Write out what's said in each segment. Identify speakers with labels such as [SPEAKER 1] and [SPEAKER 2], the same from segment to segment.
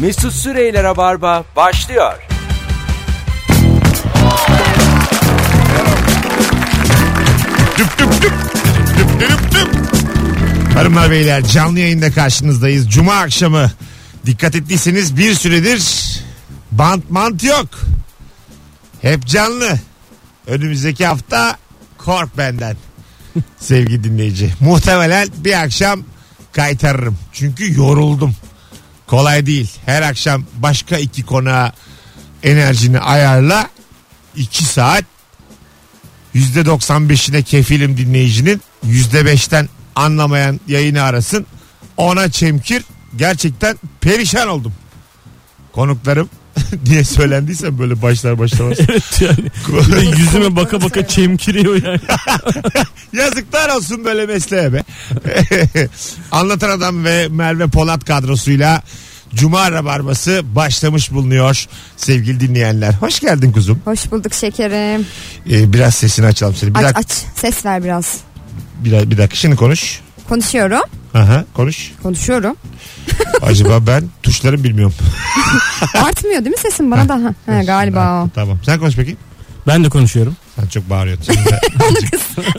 [SPEAKER 1] Mesut Süreyler'e barba başlıyor.
[SPEAKER 2] Düp düp düp. Düp düp düp. Hanımlar beyler canlı yayında karşınızdayız. Cuma akşamı dikkat ettiyseniz bir süredir bant mant yok. Hep canlı. Önümüzdeki hafta kork benden. Sevgili dinleyici. Muhtemelen bir akşam kaytarırım. Çünkü yoruldum. Kolay değil. Her akşam başka iki konağa enerjini ayarla. iki saat %95'ine kefilim dinleyicinin %5'ten anlamayan yayını arasın. Ona çemkir. Gerçekten perişan oldum. Konuklarım diye söylendiysem böyle başlar başlamaz.
[SPEAKER 3] yani. Bir de yüzüme baka baka çemkiriyor yani.
[SPEAKER 2] Yazıklar olsun böyle mesleğe be. Anlatan Adam ve Merve Polat kadrosuyla Cuma Rabarbası başlamış bulunuyor sevgili dinleyenler. Hoş geldin kuzum.
[SPEAKER 4] Hoş bulduk şekerim.
[SPEAKER 2] Ee, biraz sesini açalım seni. Bir,
[SPEAKER 4] aç
[SPEAKER 2] dak-
[SPEAKER 4] aç ses ver biraz.
[SPEAKER 2] bir, dak- bir dakika şimdi konuş.
[SPEAKER 4] Konuşuyorum.
[SPEAKER 2] Aha, konuş.
[SPEAKER 4] Konuşuyorum.
[SPEAKER 2] Acaba ben tuşları bilmiyorum.
[SPEAKER 4] Artmıyor değil mi sesin bana daha? He, galiba o.
[SPEAKER 2] Tamam. Sen konuş bakayım.
[SPEAKER 3] Ben de konuşuyorum.
[SPEAKER 2] Sen çok bağırıyorsun. Şimdi ben azıcık,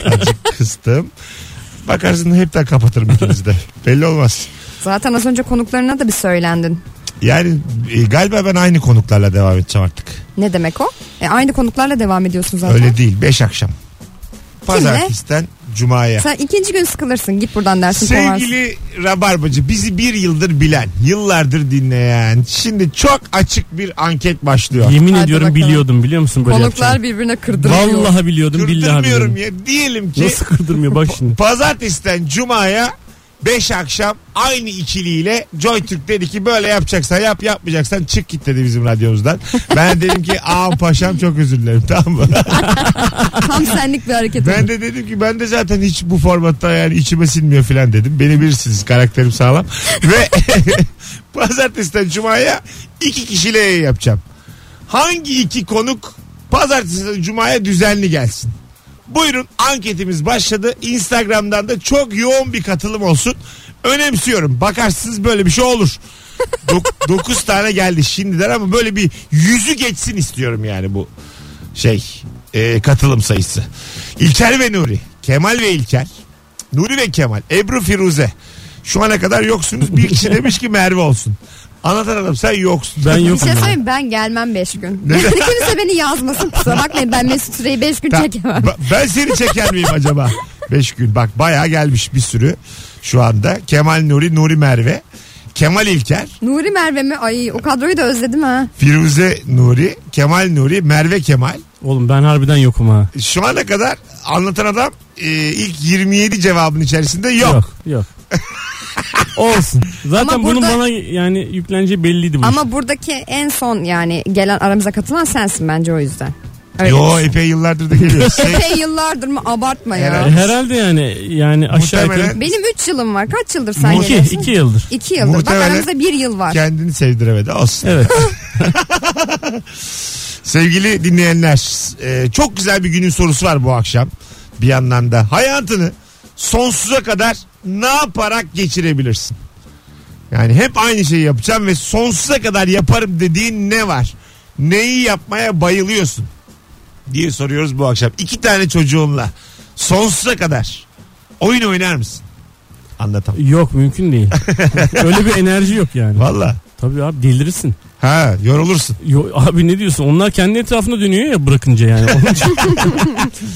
[SPEAKER 2] azıcık kıstım. Bakarsın hepten kapatırım ikinizi de. Belli olmaz.
[SPEAKER 4] Zaten az önce konuklarına da bir söylendin.
[SPEAKER 2] Yani e, galiba ben aynı konuklarla devam edeceğim artık.
[SPEAKER 4] Ne demek o? E, aynı konuklarla devam ediyorsun zaten.
[SPEAKER 2] Öyle değil. 5 akşam. Pazartesiden Cuma'ya.
[SPEAKER 4] Sen ikinci gün sıkılırsın. Git buradan dersin. kovarsın.
[SPEAKER 2] Sevgili Rabarbacı bizi bir yıldır bilen, yıllardır dinleyen. Şimdi çok açık bir anket başlıyor.
[SPEAKER 3] Yemin
[SPEAKER 4] Hadi
[SPEAKER 3] ediyorum
[SPEAKER 4] bakalım.
[SPEAKER 3] biliyordum biliyor musun böyle
[SPEAKER 4] Konuklar
[SPEAKER 3] yapacağını?
[SPEAKER 4] birbirine kırdırıyor.
[SPEAKER 3] Vallahi biliyordum billahi
[SPEAKER 2] Kırdırmıyorum
[SPEAKER 3] biliyordum.
[SPEAKER 2] ya. Şey- Diyelim ki
[SPEAKER 3] Nasıl kırdırmıyor bak şimdi.
[SPEAKER 2] Pazartesiden Cuma'ya 5 akşam aynı ikiliyle Joy Türk dedi ki böyle yapacaksan yap yapmayacaksan çık git dedi bizim radyomuzdan. Ben dedim ki ağam paşam çok özür dilerim tamam mı?
[SPEAKER 4] Tam senlik bir hareket.
[SPEAKER 2] Ben de dedim ki ben de zaten hiç bu formatta yani içime sinmiyor falan dedim. Beni bilirsiniz karakterim sağlam. Ve pazartesiden cumaya iki kişiyle yayın yapacağım. Hangi iki konuk pazartesiden cumaya düzenli gelsin? Buyurun anketimiz başladı. Instagram'dan da çok yoğun bir katılım olsun. Önemsiyorum. Bakarsınız böyle bir şey olur. 9 tane geldi şimdiden ama böyle bir yüzü geçsin istiyorum yani bu şey e, katılım sayısı. İlker ve Nuri. Kemal ve İlker. Nuri ve Kemal. Ebru Firuze. Şu ana kadar yoksunuz. Bir kişi demiş ki Merve olsun. Anlatan adam sen yoksun.
[SPEAKER 3] Ben
[SPEAKER 4] Bir
[SPEAKER 3] yokum.
[SPEAKER 4] şey
[SPEAKER 3] ya.
[SPEAKER 4] söyleyeyim ben gelmem 5 gün.
[SPEAKER 2] Neden?
[SPEAKER 4] Yani kimse beni yazmasın kusura bakmayın ben Mesut Süreyi 5 gün
[SPEAKER 2] Ta-
[SPEAKER 4] çekemem.
[SPEAKER 2] ba- ben seni çeker miyim acaba? Beş gün. Bak bayağı gelmiş bir sürü şu anda. Kemal Nuri, Nuri Merve. Kemal İlker,
[SPEAKER 4] Nuri Merve mi? Ay o kadroyu da özledim ha.
[SPEAKER 2] Firuze Nuri, Kemal Nuri, Merve Kemal.
[SPEAKER 3] Oğlum ben harbiden yokum ha.
[SPEAKER 2] Şu ana kadar anlatan adam e, ilk 27 cevabın içerisinde yok.
[SPEAKER 3] Yok. yok. Olsun. Zaten
[SPEAKER 4] Ama
[SPEAKER 3] bunun
[SPEAKER 4] burada-
[SPEAKER 3] bana yani yükleneceği belliydi bu. iş.
[SPEAKER 4] Ama buradaki en son yani gelen aramıza katılan sensin bence o yüzden. Öyle
[SPEAKER 2] Yo
[SPEAKER 4] düşün.
[SPEAKER 2] epey yıllardır da geliyor. Se-
[SPEAKER 4] Şey yıllardır mı abartma ya.
[SPEAKER 2] Herhalde.
[SPEAKER 3] E, Herhalde yani yani aşağı yukarı
[SPEAKER 2] Muhtemelen
[SPEAKER 4] Benim 3 yılım var. Kaç yıldır sen
[SPEAKER 3] iki,
[SPEAKER 4] geliyorsun?
[SPEAKER 3] iki yıldır.
[SPEAKER 4] 2 yıldır.
[SPEAKER 2] Muhtemelen-
[SPEAKER 4] Bak aramızda 1 yıl var.
[SPEAKER 2] kendini sevdiremedi. Olsun.
[SPEAKER 3] Evet.
[SPEAKER 2] Sevgili dinleyenler e, çok güzel bir günün sorusu var bu akşam. Bir yandan da hayatını sonsuza kadar ne yaparak geçirebilirsin? Yani hep aynı şeyi yapacağım ve sonsuza kadar yaparım dediğin ne var? Neyi yapmaya bayılıyorsun? Diye soruyoruz bu akşam. İki tane çocuğunla sonsuza kadar oyun oynar mısın? Anlatamam.
[SPEAKER 3] Yok mümkün değil. Öyle bir enerji yok yani.
[SPEAKER 2] Valla.
[SPEAKER 3] Tabii abi delirirsin.
[SPEAKER 2] Ha yorulursun.
[SPEAKER 3] Yo, abi ne diyorsun? Onlar kendi etrafında dönüyor ya bırakınca yani. Onun için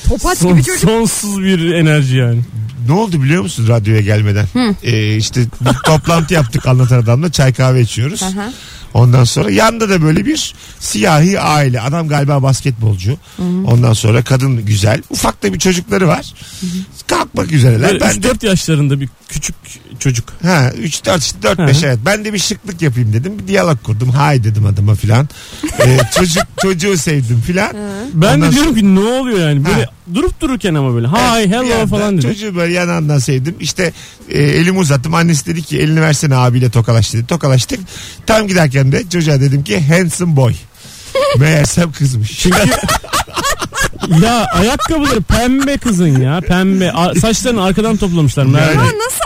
[SPEAKER 4] Topaç
[SPEAKER 3] son-
[SPEAKER 4] gibi çocuk.
[SPEAKER 3] sonsuz bir enerji yani.
[SPEAKER 2] Ne oldu biliyor musun radyoya gelmeden? Ee, işte bir toplantı yaptık anlatan adamla çay kahve içiyoruz.
[SPEAKER 4] Aha.
[SPEAKER 2] Ondan sonra yanda da böyle bir siyahi aile. Adam galiba basketbolcu. Ondan sonra kadın güzel. Ufak da bir çocukları var. Kalkmak üzereler.
[SPEAKER 3] Böyle
[SPEAKER 2] Ben de
[SPEAKER 3] 3-4 yaşlarında bir küçük çocuk.
[SPEAKER 2] Ha 3 4 işte 4 5 evet. Ben de bir şıklık yapayım dedim. Bir diyalog kurdum. Hay dedim adama filan. Ee, çocuk çocuğu sevdim filan.
[SPEAKER 3] Ben
[SPEAKER 2] Ondan
[SPEAKER 3] de diyorum ki ne oluyor yani? Böyle
[SPEAKER 2] Ha.
[SPEAKER 3] durup dururken ama böyle hi
[SPEAKER 2] Bir
[SPEAKER 3] hello
[SPEAKER 2] anda
[SPEAKER 3] falan dedi.
[SPEAKER 2] Çocuğu böyle yanağından sevdim. İşte e, elimi uzattım. Annesi dedi ki elini versene abiyle tokalaş dedi. Tokalaştık. Tam giderken de çocuğa dedim ki handsome boy. Meğersem kızmış.
[SPEAKER 3] Çünkü ya ayakkabıları pembe kızın ya pembe A- saçlarını arkadan toplamışlar. Merve.
[SPEAKER 2] Yani-
[SPEAKER 4] Ya nasıl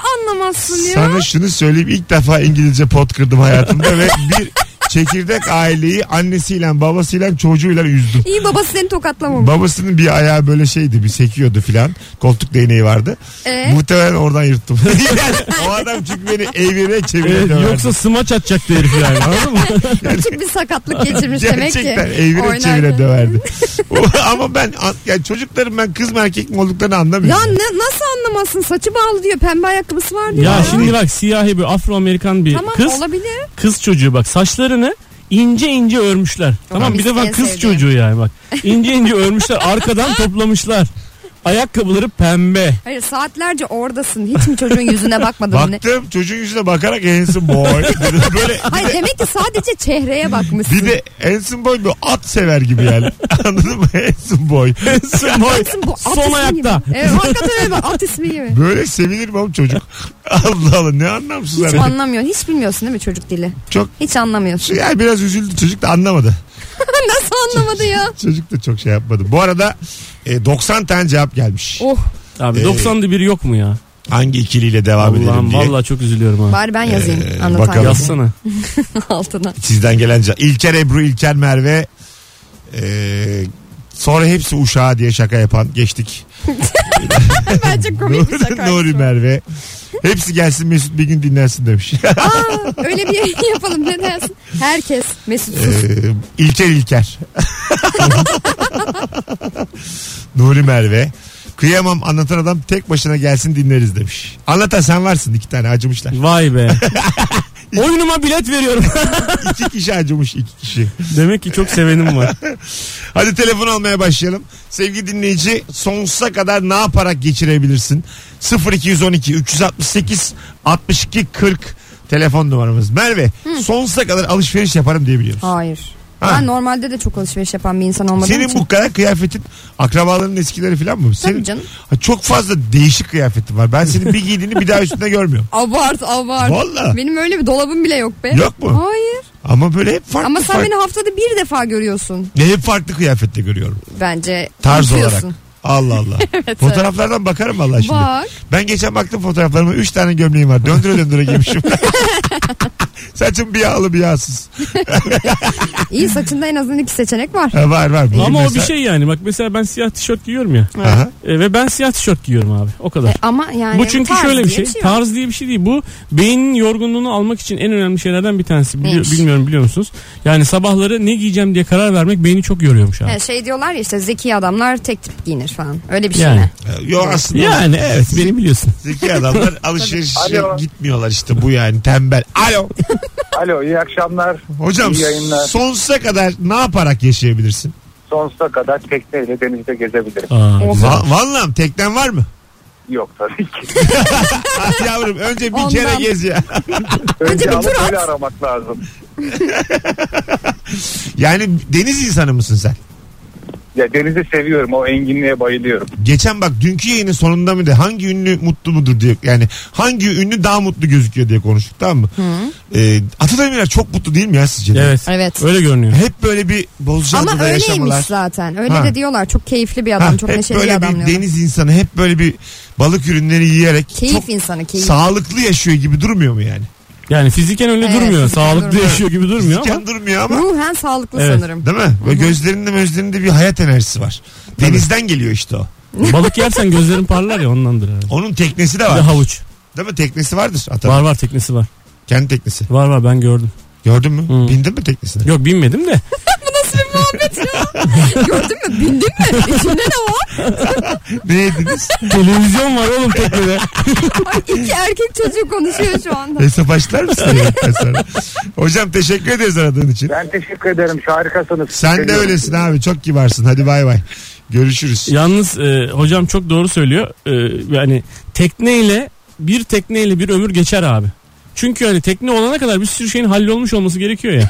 [SPEAKER 4] olsun ya.
[SPEAKER 2] Sana şunu söyleyeyim ilk defa İngilizce pot kırdım hayatımda ve bir çekirdek aileyi annesiyle babasıyla çocuğuyla üzdüm.
[SPEAKER 4] İyi babası seni tokatlamamış.
[SPEAKER 2] Babasının bir ayağı böyle şeydi bir sekiyordu filan. Koltuk değneği vardı.
[SPEAKER 4] Ee?
[SPEAKER 2] Muhtemelen oradan yırttım. Yani o adam çünkü beni evine çevirdi.
[SPEAKER 3] Evet, yoksa smaç atacaktı herif yani anladın mı?
[SPEAKER 4] Küçük bir sakatlık geçirmiş demek ki.
[SPEAKER 2] Gerçekten evine
[SPEAKER 4] Oynarken.
[SPEAKER 2] çevire döverdi. Ama ben an- yani çocukların ben kız mı erkek mi olduklarını
[SPEAKER 4] Ya
[SPEAKER 2] anlamıyorum.
[SPEAKER 4] ne- nasıl anlamazsın? Saçı bağlı diyor. Pembe ayakkabısı var diyor.
[SPEAKER 3] ya şimdi bak siyahi bir Afro Amerikan bir
[SPEAKER 4] Tamam
[SPEAKER 3] kız.
[SPEAKER 4] olabilir.
[SPEAKER 3] Kız çocuğu bak saçlarını ince ince örmüşler. Tamam bir de
[SPEAKER 4] biz en
[SPEAKER 3] bak kız
[SPEAKER 4] sevdiğim.
[SPEAKER 3] çocuğu yani bak. İnce ince örmüşler arkadan toplamışlar. Ayakkabıları pembe.
[SPEAKER 4] Hayır saatlerce oradasın. Hiç mi çocuğun yüzüne bakmadın? Ne-
[SPEAKER 2] Baktım çocuğun yüzüne bakarak handsome boy. dedim. böyle
[SPEAKER 4] Hayır demek ki sadece çehreye bakmışsın.
[SPEAKER 2] bir de handsome boy bir at sever gibi yani. Anladın mı? Handsome boy.
[SPEAKER 4] Baksın bu at
[SPEAKER 3] Son
[SPEAKER 4] ismi
[SPEAKER 3] ayakta.
[SPEAKER 4] Gibi. Evet, hakikaten öyle bak at ismi gibi.
[SPEAKER 2] Böyle sevinir mi oğlum çocuk? Allah Allah ne anlamsız
[SPEAKER 4] Hiç
[SPEAKER 2] hareket.
[SPEAKER 4] anlamıyorsun. Hiç bilmiyorsun değil mi çocuk dili?
[SPEAKER 2] Çok
[SPEAKER 4] Hiç anlamıyorsun.
[SPEAKER 2] yani biraz üzüldü çocuk da anlamadı.
[SPEAKER 4] Nasıl anlamadı ya?
[SPEAKER 2] Çocuk da çok şey yapmadı. Bu arada e, 90 tane cevap gelmiş.
[SPEAKER 4] Oh
[SPEAKER 3] Abi
[SPEAKER 2] Ee,
[SPEAKER 3] 91 yok mu ya?
[SPEAKER 2] Hangi ikiliyle devam edelim
[SPEAKER 3] Allah'ım
[SPEAKER 2] diye.
[SPEAKER 3] vallahi çok üzülüyorum ha.
[SPEAKER 4] bari ben yazayım
[SPEAKER 2] Ee,
[SPEAKER 4] anlatan
[SPEAKER 2] bakalım.
[SPEAKER 4] yazı
[SPEAKER 3] Yazsana.
[SPEAKER 4] altına.
[SPEAKER 2] Sizden gelen cevap. İlker Ebru, İlker Merve. E, sonra hepsi uşağı diye şaka yapan geçtik.
[SPEAKER 4] Bence komik bir şaka.
[SPEAKER 2] Nuri Merve. Hepsi gelsin Mesut bir gün dinlensin demiş.
[SPEAKER 4] Aa, öyle bir yayın yapalım ne dersin? Herkes Mesut
[SPEAKER 2] Ee, İlker İlker. Nuri Merve. Kıyamam anlatan adam tek başına gelsin dinleriz demiş. Anlatan sen varsın iki tane acımışlar.
[SPEAKER 3] Vay be. Oyunuma bilet veriyorum.
[SPEAKER 2] İki kişi acımış iki kişi.
[SPEAKER 3] Demek ki çok sevenim var.
[SPEAKER 2] Hadi telefon almaya başlayalım. Sevgili dinleyici sonsuza kadar ne yaparak geçirebilirsin? 0212 368 62 40 telefon numaramız. Merve sonsuza kadar alışveriş yaparım diyebiliyoruz.
[SPEAKER 4] Hayır.
[SPEAKER 2] Ha.
[SPEAKER 4] Ben normalde de çok alışveriş yapan bir insan olmadığım
[SPEAKER 2] Senin
[SPEAKER 4] için.
[SPEAKER 2] bu kadar kıyafetin akrabalarının eskileri falan mı? Senin,
[SPEAKER 4] canım.
[SPEAKER 2] Ha, Çok fazla değişik kıyafetin var. Ben senin bir giydiğini bir daha üstünde görmüyorum.
[SPEAKER 4] Abart abart.
[SPEAKER 2] Valla.
[SPEAKER 4] Benim öyle bir dolabım bile yok be.
[SPEAKER 2] Yok mu?
[SPEAKER 4] Hayır.
[SPEAKER 2] Ama böyle hep farklı
[SPEAKER 4] Ama sen
[SPEAKER 2] farklı.
[SPEAKER 4] beni haftada bir defa görüyorsun.
[SPEAKER 2] Ne hep farklı kıyafette görüyorum.
[SPEAKER 4] Bence.
[SPEAKER 2] Tarz olarak.
[SPEAKER 4] Unutuyorsun.
[SPEAKER 2] Allah Allah. Fotoğraflardan bakarım vallahi şimdi.
[SPEAKER 4] Bak.
[SPEAKER 2] Ben geçen baktım fotoğraflarıma 3 tane gömleğim var. Döndüre döndüre giymişim. Saçım bir yağlı bir yağsız.
[SPEAKER 4] İyi saçında en azından iki seçenek var.
[SPEAKER 2] Ha, var var. Bugün
[SPEAKER 3] Ama o bir
[SPEAKER 2] mesela-
[SPEAKER 3] şey yani. Bak mesela ben siyah tişört giyiyorum ya.
[SPEAKER 2] Aha.
[SPEAKER 3] E, ve ben siyah tişört giyiyorum abi. O kadar.
[SPEAKER 4] E, ama yani
[SPEAKER 3] bu çünkü
[SPEAKER 4] tarz
[SPEAKER 3] şöyle bir
[SPEAKER 4] diye
[SPEAKER 3] şey.
[SPEAKER 4] yok.
[SPEAKER 3] Tarz diye bir şey değil. Bu beynin yorgunluğunu almak için en önemli şeylerden bir tanesi. Bili-
[SPEAKER 4] Neymiş?
[SPEAKER 3] bilmiyorum biliyor musunuz? Yani sabahları ne giyeceğim diye karar vermek beyni çok yoruyormuş abi.
[SPEAKER 4] He, şey diyorlar ya işte zeki adamlar tek tip giyinir falan. Öyle bir şey
[SPEAKER 3] Yani.
[SPEAKER 4] mi?
[SPEAKER 2] Yo aslında
[SPEAKER 3] Yani evet beni biliyorsun.
[SPEAKER 2] zeki adamlar alışverişe
[SPEAKER 5] Alo.
[SPEAKER 2] gitmiyorlar işte bu yani tembel. Alo.
[SPEAKER 5] Alo iyi akşamlar.
[SPEAKER 2] Hocam
[SPEAKER 5] İyi yayınlar.
[SPEAKER 2] sonsuza kadar ne yaparak yaşayabilirsin?
[SPEAKER 5] Sonsuza kadar tekneyle denizde gezebilirim.
[SPEAKER 3] Aa, güzel.
[SPEAKER 2] Va- Vallahi teknen var mı?
[SPEAKER 5] Yok tabii ki.
[SPEAKER 2] Ah Yavrum önce bir
[SPEAKER 4] Ondan.
[SPEAKER 2] kere gez ya.
[SPEAKER 4] Önce bir
[SPEAKER 5] Önce
[SPEAKER 4] tur
[SPEAKER 5] alıp
[SPEAKER 4] at.
[SPEAKER 5] öyle aramak lazım.
[SPEAKER 2] Yani deniz insanı mısın sen?
[SPEAKER 5] Ya denizi seviyorum. O enginliğe bayılıyorum.
[SPEAKER 2] Geçen bak dünkü yayının sonunda mı de hangi ünlü mutlu mudur diye yani hangi ünlü daha mutlu gözüküyor diye konuştuk tamam mı? Ee, Atademirer çok mutlu değil mi ya sizce? de?
[SPEAKER 3] Evet.
[SPEAKER 4] Evet.
[SPEAKER 3] Öyle görünüyor.
[SPEAKER 2] Hep böyle bir
[SPEAKER 4] Ama
[SPEAKER 2] Bozcaada'da
[SPEAKER 4] öyleymiş
[SPEAKER 2] yaşamalar.
[SPEAKER 4] zaten. Öyle
[SPEAKER 2] Ha.
[SPEAKER 4] de diyorlar. Çok keyifli bir adam.
[SPEAKER 2] Ha,
[SPEAKER 4] çok
[SPEAKER 2] hep
[SPEAKER 4] neşeli bir
[SPEAKER 2] böyle
[SPEAKER 4] adam
[SPEAKER 2] bir
[SPEAKER 4] diyorlar.
[SPEAKER 2] deniz insanı hep böyle bir balık ürünleri yiyerek
[SPEAKER 4] Keyif
[SPEAKER 2] çok
[SPEAKER 4] insanı keyif.
[SPEAKER 2] sağlıklı yaşıyor gibi durmuyor mu yani?
[SPEAKER 3] Yani fiziken öyle
[SPEAKER 4] Evet,
[SPEAKER 3] durmuyor.
[SPEAKER 4] fiziken
[SPEAKER 3] Sağlıklı
[SPEAKER 4] durmuyor.
[SPEAKER 3] yaşıyor gibi durmuyor ama.
[SPEAKER 2] Fiziken durmuyor ama
[SPEAKER 4] Ruhen sağlıklı
[SPEAKER 3] Evet.
[SPEAKER 4] sanırım.
[SPEAKER 2] Değil mi? Ve gözlerinde gözlerinde bir hayat enerjisi var. Denizden geliyor işte o.
[SPEAKER 3] Balık yersen gözlerin parlar ya ondandır herhalde.
[SPEAKER 2] Onun teknesi de
[SPEAKER 3] Bir de
[SPEAKER 2] var.
[SPEAKER 3] havuç.
[SPEAKER 2] Değil mi? Teknesi vardır. Atar.
[SPEAKER 3] Var var teknesi var.
[SPEAKER 2] Kendi teknesi.
[SPEAKER 3] Var var ben gördüm.
[SPEAKER 2] Gördün mü?
[SPEAKER 3] Hı.
[SPEAKER 2] Bindin mi teknesine?
[SPEAKER 3] Yok binmedim de.
[SPEAKER 4] Gördün mü? Bindin mi? İçinde ne var?
[SPEAKER 2] ne yediniz?
[SPEAKER 3] Televizyon var oğlum teknede.
[SPEAKER 4] Ay, iki erkek çocuğu konuşuyor şu anda.
[SPEAKER 2] Hesap açtılar mısın? yemekten sonra? Hocam teşekkür ederiz aradığın için.
[SPEAKER 5] Ben teşekkür ederim. Harikasınız.
[SPEAKER 2] Sen de
[SPEAKER 5] Seviyorum.
[SPEAKER 2] öylesin abi. Çok kibarsın. Hadi bay bay. Görüşürüz.
[SPEAKER 3] Yalnız e, hocam çok doğru söylüyor. E, yani tekneyle bir tekneyle bir ömür geçer abi. Çünkü hani tekne olana kadar bir sürü şeyin hallolmuş olması gerekiyor ya.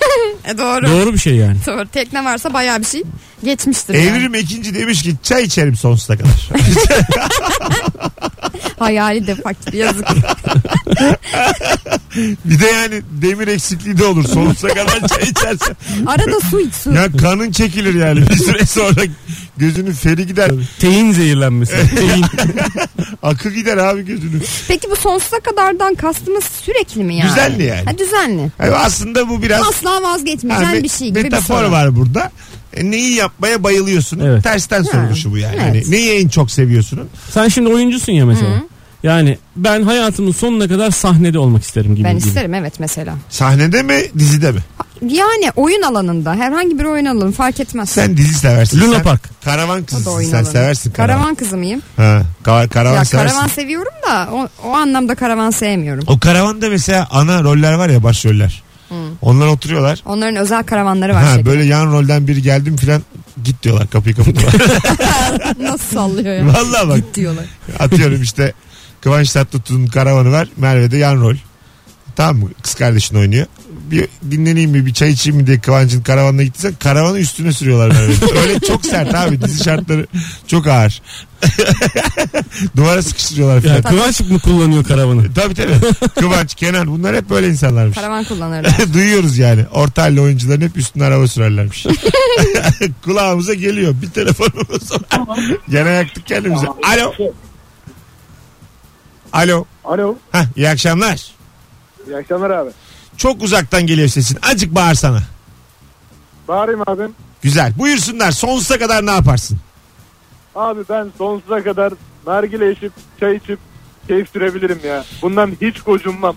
[SPEAKER 4] E doğru.
[SPEAKER 3] doğru bir şey yani.
[SPEAKER 4] Doğru. Tekne varsa bayağı bir şey geçmiştir. yani.
[SPEAKER 2] Evrim ikinci demiş ki çay içerim sonsuza kadar.
[SPEAKER 4] Hayali de fakir yazık.
[SPEAKER 2] Bir de yani demir eksikliği de olur. Sonsuza kadar çay içersen.
[SPEAKER 4] Arada su iç su.
[SPEAKER 2] Ya kanın çekilir yani. Bir süre sonra gözünün feri gider.
[SPEAKER 3] Teyin zehirlenmesi. Teyin.
[SPEAKER 2] Akı gider abi gözünün.
[SPEAKER 4] Peki bu sonsuza kadardan kastımız sürekli mi yani?
[SPEAKER 2] Düzenli yani.
[SPEAKER 4] Ha, düzenli.
[SPEAKER 2] Yani aslında bu biraz
[SPEAKER 4] Asla vazgeçmeyeceğin
[SPEAKER 2] Ha, me-
[SPEAKER 4] bir şey gibi bir
[SPEAKER 2] metafor
[SPEAKER 4] soru.
[SPEAKER 2] var burada. E, neyi yapmaya bayılıyorsun?
[SPEAKER 3] Evet.
[SPEAKER 2] Tersten soruluşu bu yani.
[SPEAKER 4] evet.
[SPEAKER 2] Hani neyi en çok seviyorsun?
[SPEAKER 3] Sen şimdi oyuncusun ya mesela. Yani ben hayatımın sonuna kadar sahnede olmak isterim gibi.
[SPEAKER 4] Ben
[SPEAKER 3] gibi.
[SPEAKER 4] isterim evet mesela.
[SPEAKER 2] Sahnede mi, dizide mi?
[SPEAKER 4] Yani oyun alanında herhangi bir oyun alanı fark etmez.
[SPEAKER 2] Sen dizi seversin.
[SPEAKER 3] Luna
[SPEAKER 2] Sen
[SPEAKER 3] Park.
[SPEAKER 2] Karavan
[SPEAKER 4] O da
[SPEAKER 2] kızısın.
[SPEAKER 4] oyun
[SPEAKER 2] Sen
[SPEAKER 4] alanı.
[SPEAKER 2] seversin karavan.
[SPEAKER 4] Karavan kızı mıyım?
[SPEAKER 2] Ha, ka- karavan
[SPEAKER 4] ya
[SPEAKER 2] seversin.
[SPEAKER 4] karavan seviyorum da o, o anlamda karavan sevmiyorum.
[SPEAKER 2] O karavanda mesela ana roller var ya başroller.
[SPEAKER 4] Hmm.
[SPEAKER 2] Onlar oturuyorlar.
[SPEAKER 4] Onların özel karavanları var.
[SPEAKER 2] Ha,
[SPEAKER 4] şekerim.
[SPEAKER 2] böyle yan rolden biri geldim filan git diyorlar kapıyı kapatıyorlar.
[SPEAKER 4] Nasıl sallıyor ya?
[SPEAKER 2] Vallahi bak
[SPEAKER 4] Git diyorlar.
[SPEAKER 2] atıyorum işte Kıvanç Tatlıtuğ'un karavanı var Merve'de yan rol. Tamam mı? Kız kardeşin oynuyor. Bir dinleneyim mi bir çay içeyim mi diye Kıvanç'ın karavanına gittiysen karavanı üstüne sürüyorlar Merve'de. Öyle çok sert abi dizi şartları çok ağır. Duvara sıkıştırıyorlar
[SPEAKER 3] Ya
[SPEAKER 2] filan.
[SPEAKER 3] Kıvanç mı kullanıyor karavanı?
[SPEAKER 2] Tabii tabii. Kıvanç, Kenan bunlar hep böyle insanlarmış.
[SPEAKER 4] Karavan kullanırlar.
[SPEAKER 2] Duyuyoruz yani. Orta halli oyuncuların hep üstüne araba sürerlermiş. Kulağımıza geliyor. Bir telefonumuz var. Gene yaktık kendimizi. Alo. Alo.
[SPEAKER 5] Alo.
[SPEAKER 2] Hah, iyi akşamlar.
[SPEAKER 5] İyi akşamlar abi.
[SPEAKER 2] Çok uzaktan geliyor sesin. Acık bağırsana.
[SPEAKER 5] Bağırayım abim.
[SPEAKER 2] Güzel. Buyursunlar. Sonsuza kadar ne yaparsın?
[SPEAKER 5] Abi ben sonsuza kadar nargile içip çay içip keyif sürebilirim ya. Bundan hiç gocunmam.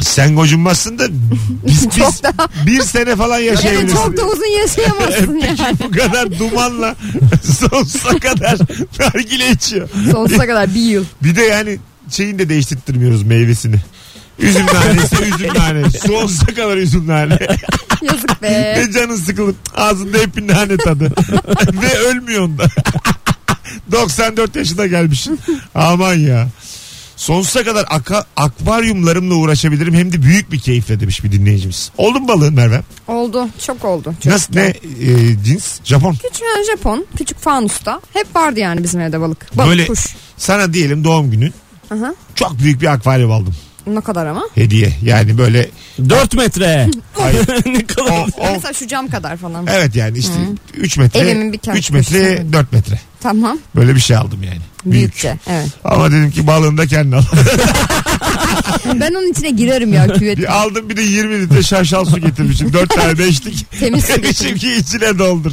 [SPEAKER 2] Sen gocunmazsın da biz, biz bir sene falan
[SPEAKER 4] Yani
[SPEAKER 2] yaşayabilirsin.
[SPEAKER 4] çok da uzun yaşayamazsın yani.
[SPEAKER 2] Bu kadar dumanla sonsuza kadar nargile içiyor.
[SPEAKER 4] Sonsuza kadar bir yıl.
[SPEAKER 2] Bir de yani şeyini de değiştirtmiyoruz meyvesini. Üzüm nanesi, üzüm nane. Sonsuza kadar üzüm nane.
[SPEAKER 4] Yazık be.
[SPEAKER 2] Ve canın sıkılıp ağzında hep bir nane tadı. Ve ölmüyorsun da. 94 yaşına gelmişsin. Aman ya. Sonsuza kadar aka- akvaryumlarımla uğraşabilirim hem de büyük bir keyifle demiş bir dinleyicimiz. Oldu mu balığın Merve?
[SPEAKER 4] Oldu. Çok oldu.
[SPEAKER 2] Nasıl ne e, cins? Japon.
[SPEAKER 4] Küçük yani Japon. Küçük fanusta. Hep vardı yani bizim evde balık. Balık
[SPEAKER 2] Böyle-
[SPEAKER 4] kuş.
[SPEAKER 2] Sana diyelim doğum günün.
[SPEAKER 4] Aha.
[SPEAKER 2] Çok büyük bir akvaryum aldım
[SPEAKER 4] Ne kadar ama?
[SPEAKER 2] hediye. Yani böyle
[SPEAKER 3] 4 metre.
[SPEAKER 2] Hayır.
[SPEAKER 3] ne kadar.
[SPEAKER 2] o, o
[SPEAKER 4] Mesela şu cam kadar falan.
[SPEAKER 2] Evet yani işte 3 metre,
[SPEAKER 4] Evimin bir kent
[SPEAKER 2] 3 metre,
[SPEAKER 4] köşesinde.
[SPEAKER 2] 4 metre.
[SPEAKER 4] Tamam.
[SPEAKER 2] Böyle bir şey aldım yani. Büyük.
[SPEAKER 4] Büyükçe. Evet.
[SPEAKER 2] Ama dedim ki balığını da kendin al.
[SPEAKER 4] Ben onun içine girerim ya küvet.
[SPEAKER 2] bir aldım bir de 20 litre şarşal su getirmişim. 4 tane beşlik.
[SPEAKER 4] Temiz su
[SPEAKER 2] Demişim ki içine doldur.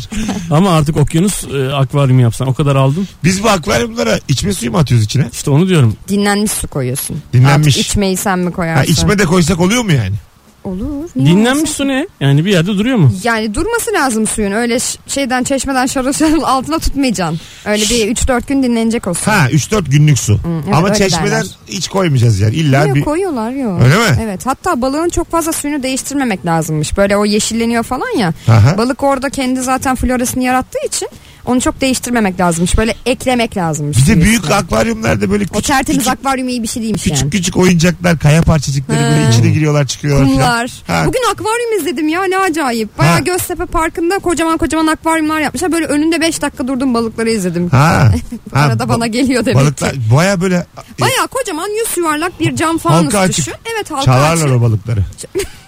[SPEAKER 3] Ama artık okyanus e, akvaryumu yapsan o kadar aldım.
[SPEAKER 2] Biz bu akvaryumlara içme suyu mu atıyoruz içine?
[SPEAKER 3] İşte onu diyorum.
[SPEAKER 4] Dinlenmiş su koyuyorsun.
[SPEAKER 2] Dinlenmiş.
[SPEAKER 4] Artık içmeyi sen mi koyarsın?
[SPEAKER 2] Ha, içme de koysak oluyor mu yani?
[SPEAKER 4] Olur. niye
[SPEAKER 3] Dinlenmiş
[SPEAKER 4] olmasın?
[SPEAKER 3] su ne? Yani bir yerde duruyor mu?
[SPEAKER 4] Yani durması lazım suyun. Öyle ş- şeyden çeşmeden şarıl şarıl altına tutmayacaksın. Öyle bir 3-4 gün dinlenecek olsun.
[SPEAKER 2] Ha 3-4 günlük su.
[SPEAKER 4] evet,
[SPEAKER 2] Ama
[SPEAKER 4] öyle
[SPEAKER 2] çeşmeden
[SPEAKER 4] derler.
[SPEAKER 2] hiç koymayacağız yani. İlla
[SPEAKER 4] Yok,
[SPEAKER 2] bir...
[SPEAKER 4] koyuyorlar yok.
[SPEAKER 2] Öyle mi?
[SPEAKER 4] Evet hatta balığın çok fazla suyunu değiştirmemek lazımmış. Böyle o yeşilleniyor falan ya.
[SPEAKER 2] Aha.
[SPEAKER 4] Balık orada kendi zaten florasını yarattığı için onu çok değiştirmemek lazımmış. Böyle eklemek lazımmış.
[SPEAKER 2] Bir de
[SPEAKER 4] suyu.
[SPEAKER 2] büyük akvaryumlarda böyle
[SPEAKER 4] o
[SPEAKER 2] küçük
[SPEAKER 4] tertemiz
[SPEAKER 2] küçük,
[SPEAKER 4] akvaryum iyi bir şey değilmiş
[SPEAKER 2] küçük,
[SPEAKER 4] yani.
[SPEAKER 2] küçük oyuncaklar, kaya parçacıkları böyle
[SPEAKER 4] Ha.
[SPEAKER 2] içine giriyorlar çıkıyorlar. falan.
[SPEAKER 4] Kumlar.
[SPEAKER 2] Ha,
[SPEAKER 4] Bugün akvaryum izledim ya ne acayip. Baya
[SPEAKER 2] Ha.
[SPEAKER 4] Göztepe Parkı'nda kocaman kocaman akvaryumlar yapmışlar. Böyle önünde 5 dakika durdum balıkları izledim.
[SPEAKER 2] Ha. ha,
[SPEAKER 4] Arada
[SPEAKER 2] ba-
[SPEAKER 4] bana geliyor demek
[SPEAKER 2] Balıklar
[SPEAKER 4] ki.
[SPEAKER 2] baya böyle e,
[SPEAKER 4] Baya kocaman yüz yuvarlak bir cam fanus
[SPEAKER 2] Halka açık.
[SPEAKER 4] düşün. Evet halka
[SPEAKER 2] çalarlar
[SPEAKER 4] açık.
[SPEAKER 2] o balıkları.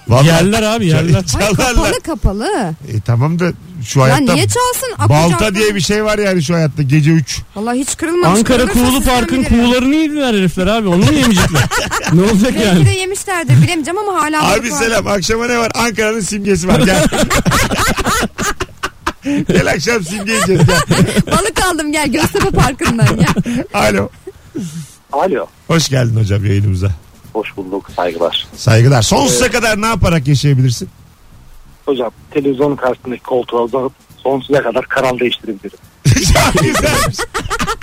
[SPEAKER 2] Vallahi
[SPEAKER 3] Yerler abi yerler.
[SPEAKER 4] Ay,
[SPEAKER 2] çalarlar.
[SPEAKER 4] kapalı kapalı.
[SPEAKER 2] E, tamam da şu
[SPEAKER 4] Ya
[SPEAKER 2] hayatta
[SPEAKER 4] niye çalsın? Akacak
[SPEAKER 2] balta
[SPEAKER 4] mı?
[SPEAKER 2] diye bir şey var yani şu hayatta gece 3.
[SPEAKER 4] Valla hiç kırılmamış.
[SPEAKER 3] Ankara
[SPEAKER 4] Kırılırsa
[SPEAKER 3] Kuğulu
[SPEAKER 4] sizden
[SPEAKER 3] Park'ın
[SPEAKER 4] bilirim.
[SPEAKER 3] kuğularını yediler herifler abi. Onu mu yemeyecekler? ne olacak
[SPEAKER 4] Belki de
[SPEAKER 3] yani?
[SPEAKER 4] yemişlerdir bilemeyeceğim ama hala.
[SPEAKER 2] Abi
[SPEAKER 4] balık var.
[SPEAKER 2] selam akşama ne var? Ankara'nın simgesi var gel. gel akşam simge yiyeceğiz gel.
[SPEAKER 4] Balık aldım gel Göztepe Parkı'ndan ya.
[SPEAKER 2] Alo.
[SPEAKER 6] Alo.
[SPEAKER 2] Hoş geldin hocam yayınımıza.
[SPEAKER 6] Hoş bulduk. Saygılar.
[SPEAKER 2] Saygılar. Sonsuza kadar ne yaparak yaşayabilirsin?
[SPEAKER 6] Hocam televizyon karşısındaki koltuğa uzanıp sonsuza kadar kanal değiştirebilirim.
[SPEAKER 2] çok güzelmiş.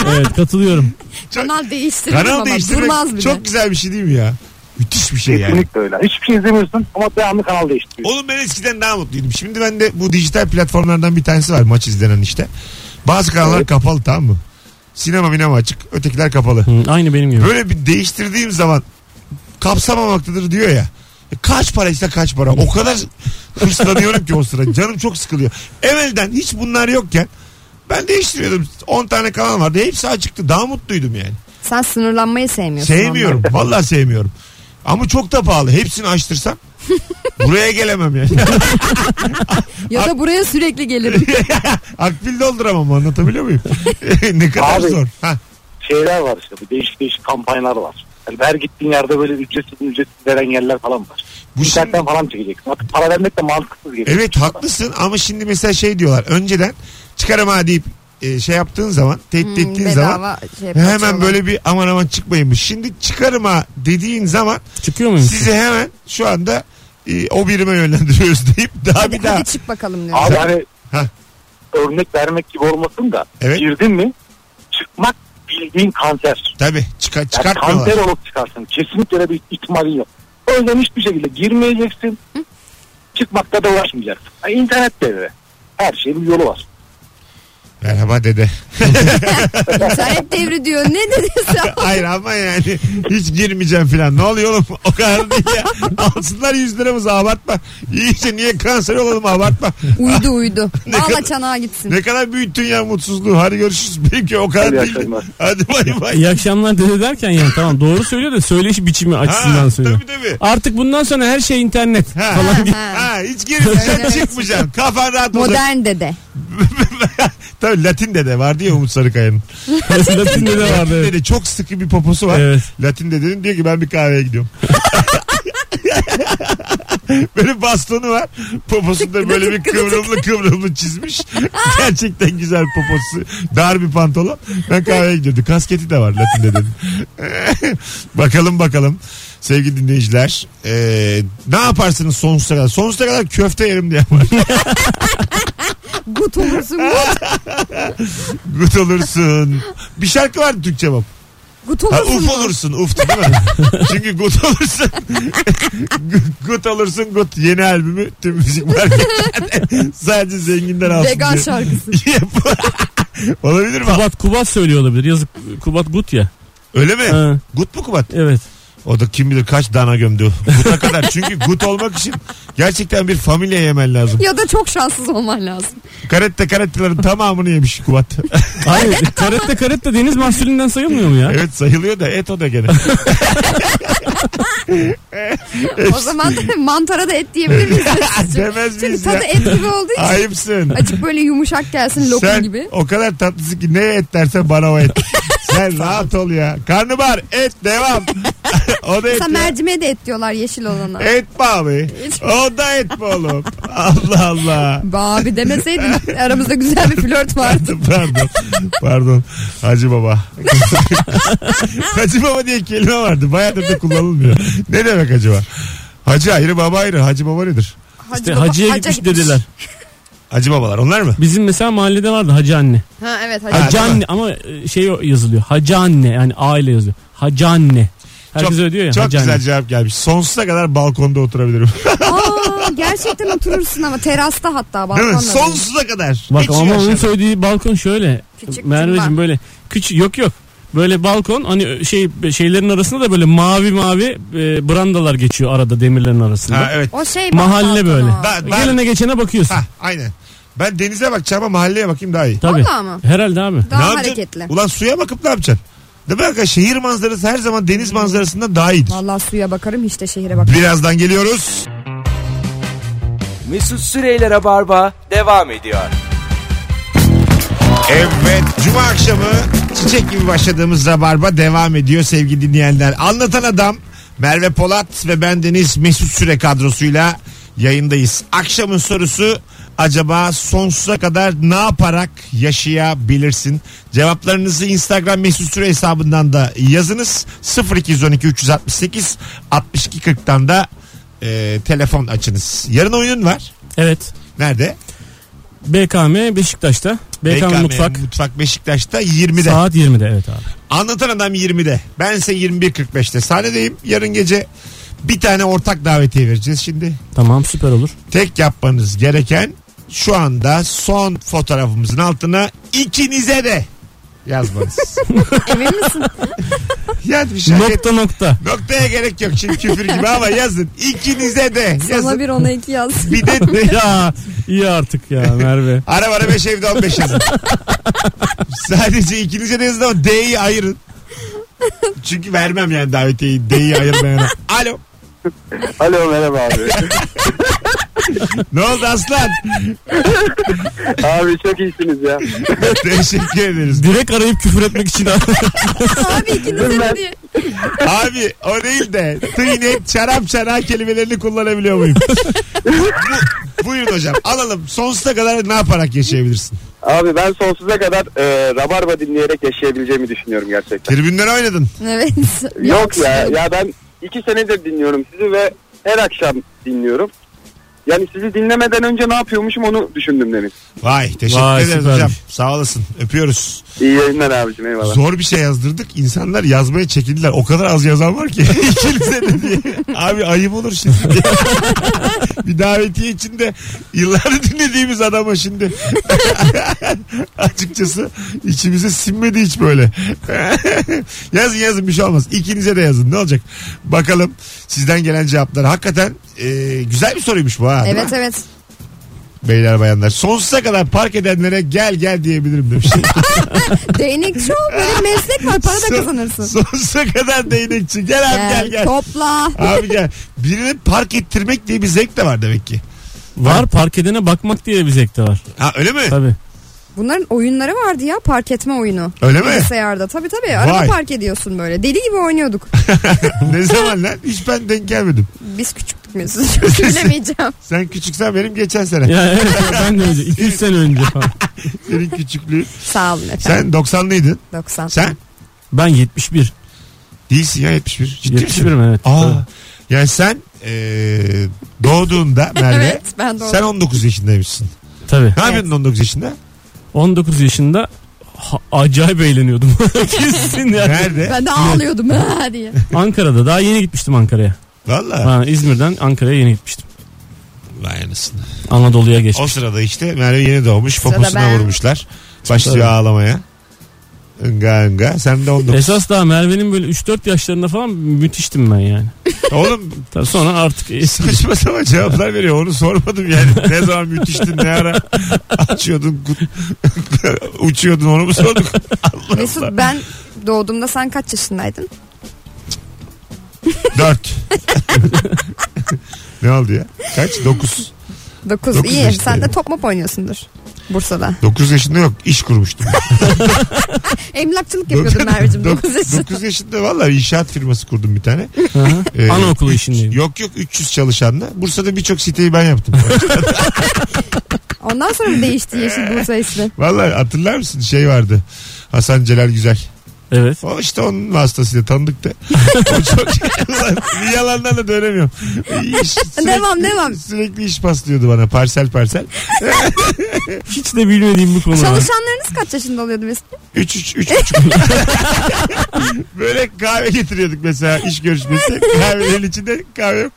[SPEAKER 3] Evet katılıyorum.
[SPEAKER 2] Çok-
[SPEAKER 4] Kanal değiştirdim
[SPEAKER 2] Kanal
[SPEAKER 4] ama durmaz
[SPEAKER 2] değiştirmek
[SPEAKER 4] bile.
[SPEAKER 2] çok güzel bir şey değil mi ya? Müthiş bir şey yani.
[SPEAKER 6] Kesinlikle öyle. Hiçbir şey izlemiyorsun ama devamlı kanal değiştiriyorsun.
[SPEAKER 2] Oğlum ben eskiden daha mutluydum. Şimdi ben de bu dijital platformlardan bir tanesi var maç izlenen işte. Bazı kanallar kapalı tamam mı? Sinema minema açık. Ötekiler kapalı.
[SPEAKER 3] Hı, aynı benim gibi.
[SPEAKER 2] Böyle bir değiştirdiğim zaman kapsamamaktadır diyor ya. E Kaç paraysa kaç para. O kadar hırslanıyorum ki o sıra. Canım çok sıkılıyor. Evvelden hiç bunlar yokken ben değiştiriyordum. 10 tane kanal vardı. Hepsi açıktı. Daha mutluydum yani.
[SPEAKER 4] Sen sınırlanmayı sevmiyorsun.
[SPEAKER 2] Sevmiyorum. Vallahi sevmiyorum. Ama çok da pahalı. Hepsini açtırsam buraya gelemem yani.
[SPEAKER 4] ondan. Ya da buraya sürekli gelirim.
[SPEAKER 2] Akbil dolduramam anlatabiliyor muyum? ne kadar
[SPEAKER 6] Abi.
[SPEAKER 2] zor. Ha.
[SPEAKER 6] Şeyler var işte bu değişik değişik kampanyalar var. Yani her gittiğin yerde böyle ücretsiz ücretsiz veren yerler falan var.
[SPEAKER 2] Bu
[SPEAKER 6] Bu İnternetten falan çekeceksin. Artık para vermek de mantıksız geliyor.
[SPEAKER 2] Evet haklısın ama şimdi mesela şey diyorlar. Önceden çıkarım ha deyip e, şey yaptığın zaman, tehdit
[SPEAKER 4] Hmm,
[SPEAKER 2] ettiğin
[SPEAKER 4] bedava
[SPEAKER 2] zaman
[SPEAKER 4] şey
[SPEAKER 2] hemen
[SPEAKER 4] yapıyorlar.
[SPEAKER 2] böyle bir aman aman çıkmayınmış. Şimdi çıkarım ha dediğin zaman
[SPEAKER 3] Çıkıyor muyum?
[SPEAKER 2] sizi hemen şu anda e, o birime yönlendiriyoruz deyip daha
[SPEAKER 4] Hadi,
[SPEAKER 2] bir daha
[SPEAKER 4] hadi çık bakalım diyor.
[SPEAKER 6] Abi hani
[SPEAKER 2] Heh.
[SPEAKER 6] örnek vermek gibi olmasın da
[SPEAKER 2] Evet.
[SPEAKER 6] girdin mi çıkmak bildiğin kanser.
[SPEAKER 2] tabii çıka,
[SPEAKER 6] Yani
[SPEAKER 2] çıkartmıyorlar.
[SPEAKER 6] kanser olup çıkarsın. Kesinlikle öyle bir ihtimalin yok. O yüzden hiçbir şekilde girmeyeceksin. Çıkmakta da uğraşmayacaksın. Yani internet devre. Her şeyin bir yolu var.
[SPEAKER 2] Merhaba dede.
[SPEAKER 4] İnternet devri diyor. Ne dedi sen?
[SPEAKER 2] Hayır ama yani hiç girmeyeceğim filan. Ne oluyor oğlum? O kadar değil ya. Alsınlar 100 liramızı abartma. İyice niye kanser olalım abartma.
[SPEAKER 4] Uydu uydu.
[SPEAKER 2] Ne kadar-
[SPEAKER 4] Valla çanağa gitsin.
[SPEAKER 2] Ne kadar büyüttün ya mutsuzluğu. Hadi görüşürüz. Belki o kadar
[SPEAKER 6] Hadi
[SPEAKER 2] değil.
[SPEAKER 6] akşamlar.
[SPEAKER 2] Hadi bay bay.
[SPEAKER 3] İyi akşamlar dede derken yani tamam doğru söylüyor da söyleyiş biçimi açısından
[SPEAKER 2] Ha,
[SPEAKER 3] söylüyor.
[SPEAKER 2] tabii tabii.
[SPEAKER 3] Artık bundan sonra her şey internet.
[SPEAKER 2] Ha.
[SPEAKER 4] Ha,
[SPEAKER 2] Ha,
[SPEAKER 4] ha.
[SPEAKER 2] hiç girmeyeceğim
[SPEAKER 4] Evet.
[SPEAKER 2] çıkmayacağım. Kafan rahat olacak.
[SPEAKER 4] Modern dede.
[SPEAKER 2] tabii Latin dede vardı ya Umut Sarıkaya'nın.
[SPEAKER 3] Latin dede
[SPEAKER 2] Latin
[SPEAKER 3] vardı. evet.
[SPEAKER 2] dede çok sıkı bir poposu var.
[SPEAKER 3] Evet.
[SPEAKER 2] Latin dedenin diyor ki ben bir kahveye gidiyorum. böyle bastonu var. Poposunda böyle bir kıvrımlı kıvrımlı çizmiş. Gerçekten güzel poposu. Dar bir pantolon. Ben kahveye gidiyordu. Kasketi de var Latin dedenin. bakalım bakalım. Sevgili dinleyiciler. Ee, ne yaparsınız sonsuza kadar? Sonsuza kadar köfte yerim diye var.
[SPEAKER 4] Gut olursun gut.
[SPEAKER 2] Gut olursun. Bir şarkı vardı Türkçe bak.
[SPEAKER 4] Gut
[SPEAKER 2] Ha,
[SPEAKER 4] olursun.
[SPEAKER 2] uf
[SPEAKER 4] mu?
[SPEAKER 2] olursun uf değil mi? Çünkü gut olursun. gut olursun gut yeni albümü tüm müzik marketlerde sadece zenginden alsın
[SPEAKER 4] Vegan
[SPEAKER 2] diye.
[SPEAKER 4] şarkısı.
[SPEAKER 2] Olabilir mi?
[SPEAKER 3] Kubat Kubat söylüyor olabilir. Yazık Kubat Gut ya.
[SPEAKER 2] Öyle mi?
[SPEAKER 3] Ha.
[SPEAKER 2] Gut mu Kubat?
[SPEAKER 3] Evet.
[SPEAKER 2] O da kim bilir kaç dana gömdü. Gut'a kadar. Çünkü gut olmak için gerçekten bir familya yemen lazım.
[SPEAKER 4] Ya da çok şanssız olman lazım.
[SPEAKER 2] Karette karettelerin tamamını yemiş Kubat.
[SPEAKER 3] Hayır e, karette karette deniz mahsulünden sayılmıyor mu ya?
[SPEAKER 2] evet sayılıyor da et o da gene.
[SPEAKER 4] O zaman mantara da et diyebilir miyiz?
[SPEAKER 2] Demez
[SPEAKER 4] Çünkü
[SPEAKER 2] miyiz ya?
[SPEAKER 4] tadı et gibi olduğu için.
[SPEAKER 2] Ayıpsın.
[SPEAKER 4] Acık böyle yumuşak gelsin lokum
[SPEAKER 2] Sen
[SPEAKER 4] gibi.
[SPEAKER 2] o kadar tatlısın ki ne et dersen bana o et. Sen rahat ol ya. Karnabahar et devam. o da et
[SPEAKER 4] Mesela
[SPEAKER 2] ya.
[SPEAKER 4] mercimeğe de et diyorlar yeşil olana.
[SPEAKER 2] Et mi abi? O da et mi oğlum? Allah Allah.
[SPEAKER 4] Abi demeseydin aramızda güzel bir flört vardı.
[SPEAKER 2] Pardon. Pardon. Hacı baba. hacı baba diye kelime vardı. Bayağıdır da kullanılmıyor. Ne demek acaba? Hacı ayrı baba ayrı. Hacı baba nedir?
[SPEAKER 4] Hacı
[SPEAKER 3] İşte
[SPEAKER 4] baba-
[SPEAKER 3] hacıya
[SPEAKER 4] haca
[SPEAKER 3] E, gitmiş dediler.
[SPEAKER 2] Hacı babalar onlar mı?
[SPEAKER 3] Bizim mesela mahallede vardı hacı anne.
[SPEAKER 4] Ha evet hacı.
[SPEAKER 3] Hacı
[SPEAKER 2] değil mi?
[SPEAKER 3] anne ama e, şey o- yazılıyor. Hacı anne yani A ile yazıyor. Hacı anne. Herkes öyle diyor ya.
[SPEAKER 2] çok
[SPEAKER 3] hacı
[SPEAKER 2] güzel
[SPEAKER 3] anne.
[SPEAKER 2] cevap gelmiş. Sonsuza kadar balkonda oturabilirim.
[SPEAKER 4] Aa, gerçekten oturursun ama terasta hatta
[SPEAKER 2] Değil
[SPEAKER 4] balkonda.
[SPEAKER 2] mi? Sonsuza kadar.
[SPEAKER 3] Bak
[SPEAKER 2] Hiç
[SPEAKER 3] ama onun
[SPEAKER 2] yaşamam.
[SPEAKER 3] söylediği balkon şöyle.
[SPEAKER 4] Küçük
[SPEAKER 3] Merveciğim
[SPEAKER 4] cimba.
[SPEAKER 3] böyle küçük yok yok. Böyle balkon hani şey şeylerin arasında da böyle mavi mavi e, brandalar geçiyor arada demirlerin arasında.
[SPEAKER 2] Ha, evet.
[SPEAKER 4] O şey
[SPEAKER 3] Mahalle
[SPEAKER 4] balkon
[SPEAKER 3] böyle.
[SPEAKER 4] o.
[SPEAKER 2] Ben, ben,
[SPEAKER 3] Gelene geçene bakıyorsun.
[SPEAKER 2] Ha, aynen. Ben denize bakacağım ama mahalleye bakayım daha iyi.
[SPEAKER 3] Tabii.
[SPEAKER 4] Vallahi mı?
[SPEAKER 3] Herhalde abi.
[SPEAKER 4] Daha
[SPEAKER 2] yapacaksın?
[SPEAKER 4] hareketli.
[SPEAKER 2] Ulan suya bakıp ne yapacaksın? Değil mi arkadaş? Şehir manzarası her zaman deniz manzarasından daha iyidir.
[SPEAKER 4] Vallahi suya bakarım hiç de şehire bakarım.
[SPEAKER 2] Birazdan geliyoruz.
[SPEAKER 1] Mesut Süreyler'e barba devam ediyor.
[SPEAKER 2] Evet. Cuma akşamı çiçek gibi başladığımız rabarba devam ediyor sevgili dinleyenler. Anlatan adam Merve Polat ve ben Deniz Mesut Süre kadrosuyla yayındayız. Akşamın sorusu acaba sonsuza kadar ne yaparak yaşayabilirsin? Cevaplarınızı Instagram Mesut Süre hesabından da yazınız. 0212 368 62 40'tan da e, telefon açınız. Yarın oyunun var.
[SPEAKER 3] Evet.
[SPEAKER 2] Nerede?
[SPEAKER 3] BKM Beşiktaş'ta. BKM, Mutfak.
[SPEAKER 2] Mutfak Beşiktaş'ta 20'de.
[SPEAKER 3] Saat 20'de evet abi.
[SPEAKER 2] Anlatan adam 20'de. Bense 21.45'te sahnedeyim. Yarın gece bir tane ortak davetiye vereceğiz şimdi.
[SPEAKER 3] Tamam süper olur.
[SPEAKER 2] Tek yapmanız gereken şu anda son fotoğrafımızın altına ikinize de yazmanız.
[SPEAKER 4] Emin misin?
[SPEAKER 2] yani bir şey.
[SPEAKER 3] Nokta nokta.
[SPEAKER 2] Noktaya gerek yok şimdi küfür gibi ama yazın. İkinize de
[SPEAKER 4] Sana
[SPEAKER 2] yazın.
[SPEAKER 4] bir ona iki yaz.
[SPEAKER 2] Bir de
[SPEAKER 3] ya iyi artık ya Merve.
[SPEAKER 2] Ara bana 5 evde 15 yazın. Sadece ikinize de yazın ama D'yi ayırın. Çünkü vermem yani davetiyeyi. D'yi ayırmayana. Alo.
[SPEAKER 6] Alo merhaba abi.
[SPEAKER 2] Ne oldu aslan?
[SPEAKER 6] abi çok iyisiniz ya.
[SPEAKER 2] Teşekkür ederiz.
[SPEAKER 3] Direkt arayıp küfür etmek için
[SPEAKER 4] Abi ikinize de diye.
[SPEAKER 2] Abi o değil de tıynek çarap çana kelimelerini kullanabiliyor muyum? Bu- Buyurun hocam alalım. Sonsuza kadar ne yaparak yaşayabilirsin?
[SPEAKER 6] Abi ben sonsuza kadar e, rabarba dinleyerek yaşayabileceğimi düşünüyorum gerçekten.
[SPEAKER 2] Tribünden oynadın.
[SPEAKER 4] Evet.
[SPEAKER 6] Yok ya ya ben iki senedir dinliyorum sizi ve her akşam dinliyorum. Yani sizi dinlemeden önce ne yapıyormuşum onu düşündüm demin.
[SPEAKER 2] Vay teşekkür
[SPEAKER 3] Vay,
[SPEAKER 2] ederiz
[SPEAKER 3] süpermiş.
[SPEAKER 2] hocam. Sağ olasın. Öpüyoruz.
[SPEAKER 6] İyi yayınlar abicim eyvallah.
[SPEAKER 2] Zor bir şey yazdırdık. İnsanlar yazmaya çekindiler. O kadar az yazan var ki. İkinize de diye. Abi ayıp olur şimdi. bir davetiye içinde yıllardır dinlediğimiz adama şimdi. Açıkçası içimize sinmedi hiç böyle. yazın yazın bir şey olmaz. İkinize de yazın. Ne olacak? Bakalım sizden gelen cevaplar. Hakikaten e, güzel bir soruymuş bu ha. değil mi?
[SPEAKER 4] Evet evet.
[SPEAKER 2] Beyler bayanlar. Sonsuza kadar park edenlere gel gel diyebilirim demiş.
[SPEAKER 4] Değnekçi ol böyle meslek var para da
[SPEAKER 2] Son-
[SPEAKER 4] kazanırsın.
[SPEAKER 2] Sonsuza kadar değnekçi. Gel abi gel gel.
[SPEAKER 4] Topla.
[SPEAKER 2] Abi gel. Birini park ettirmek diye bir zevk de var demek ki.
[SPEAKER 3] Var park edene bakmak diye bir zevk de var.
[SPEAKER 2] Ha öyle mi?
[SPEAKER 3] Tabii.
[SPEAKER 4] Bunların oyunları vardı ya park etme oyunu.
[SPEAKER 2] Öyle mi?
[SPEAKER 4] Bilgisayarda tabii tabii. Arada
[SPEAKER 2] Vay.
[SPEAKER 4] park ediyorsun böyle. Deli gibi oynuyorduk.
[SPEAKER 2] ne zaman lan? Hiç ben denk gelmedim.
[SPEAKER 4] Biz küçüktük Mesut. Çok Bilemeyeceğim.
[SPEAKER 2] Sen küçüksen benim geçen sene.
[SPEAKER 3] Ya evet ya, ben de önce 2-3 sene önce falan.
[SPEAKER 2] Senin küçüklüğü.
[SPEAKER 4] Sağ olun efendim.
[SPEAKER 2] Sen 90'lıydın.
[SPEAKER 4] 90.
[SPEAKER 2] Sen
[SPEAKER 3] Ben 71.
[SPEAKER 2] değilsin ya 71. Ciddi misin?
[SPEAKER 3] 71 mi evet.
[SPEAKER 2] Aa.
[SPEAKER 3] Tabii.
[SPEAKER 2] Yani sen eee, doğduğunda Merve
[SPEAKER 4] Evet ben doğru.
[SPEAKER 2] sen 19 yaşındaymışsın.
[SPEAKER 3] Tabii.
[SPEAKER 2] Ne yapıyordun 19 yaşında?
[SPEAKER 3] 19 yaşında ha- acayip eğleniyordum. Kesin yani.
[SPEAKER 2] Nerede?
[SPEAKER 4] Ben de ağlıyordum ha diye.
[SPEAKER 3] Ankara'da daha yeni gitmiştim Ankara'ya.
[SPEAKER 2] Valla.
[SPEAKER 3] Ha, İzmir'den Ankara'ya yeni gitmiştim.
[SPEAKER 2] Vay anasını.
[SPEAKER 3] Anadolu'ya
[SPEAKER 2] O
[SPEAKER 3] geçmiş.
[SPEAKER 2] sırada işte Merve yeni doğmuş.
[SPEAKER 4] Sırada
[SPEAKER 2] Poposuna
[SPEAKER 4] ben.
[SPEAKER 2] vurmuşlar. Başlıyor
[SPEAKER 3] Tabii.
[SPEAKER 2] ağlamaya. Inga inga. Sen de 19.
[SPEAKER 3] Esas daha Merve'nin böyle 3-4 yaşlarında falan müthiştim ben yani.
[SPEAKER 2] Oğlum
[SPEAKER 3] Tabii sonra artık eski
[SPEAKER 2] saçma sapan cevaplar veriyor. Onu sormadım yani. Ne zaman müthiştin ne ara açıyordun kut- uçuyordun onu mu sorduk? Allah
[SPEAKER 4] Mesut
[SPEAKER 2] Allah.
[SPEAKER 4] ben doğduğumda sen kaç yaşındaydın?
[SPEAKER 2] Dört. ne oldu ya? Kaç? Dokuz.
[SPEAKER 4] 9.
[SPEAKER 2] Dokuz
[SPEAKER 4] İyi.
[SPEAKER 2] yaşındaydım.
[SPEAKER 4] Sen de top mop oynuyorsundur. Bursa'da.
[SPEAKER 2] Dokuz yaşında yok. iş kurmuştum.
[SPEAKER 4] Emlakçılık yapıyordun Merve'cim
[SPEAKER 2] Dok-
[SPEAKER 4] 9 yaşında.
[SPEAKER 2] dokuz yaşında valla inşaat firması kurdum bir tane.
[SPEAKER 3] Aha.
[SPEAKER 2] Ee,
[SPEAKER 3] Anaokulu
[SPEAKER 2] üç-
[SPEAKER 3] işindeyim.
[SPEAKER 2] Yok yok 300 çalışanla. Bursa'da birçok siteyi ben yaptım.
[SPEAKER 4] Ondan sonra mı değişti Yeşil Bursa ismi?
[SPEAKER 2] Vallahi hatırlar mısın şey vardı. Hasan Celal Güzel.
[SPEAKER 3] Evet.
[SPEAKER 2] O işte onun vasıtasıyla tanıdık da. o çok bir yalandan da dönemiyorum. İş- sürekli-
[SPEAKER 4] Devam, devam.
[SPEAKER 2] Sürekli iş paslıyordu bana parsel parsel.
[SPEAKER 3] Hiç de bilmediğim bu konu. var.
[SPEAKER 4] Çalışanlarınız kaç yaşında oluyordu Mesut?
[SPEAKER 2] 3 3 üç buçuk. Böyle kahve getiriyorduk mesela iş görüşmesi. Kahvelerin içinde kahve yok.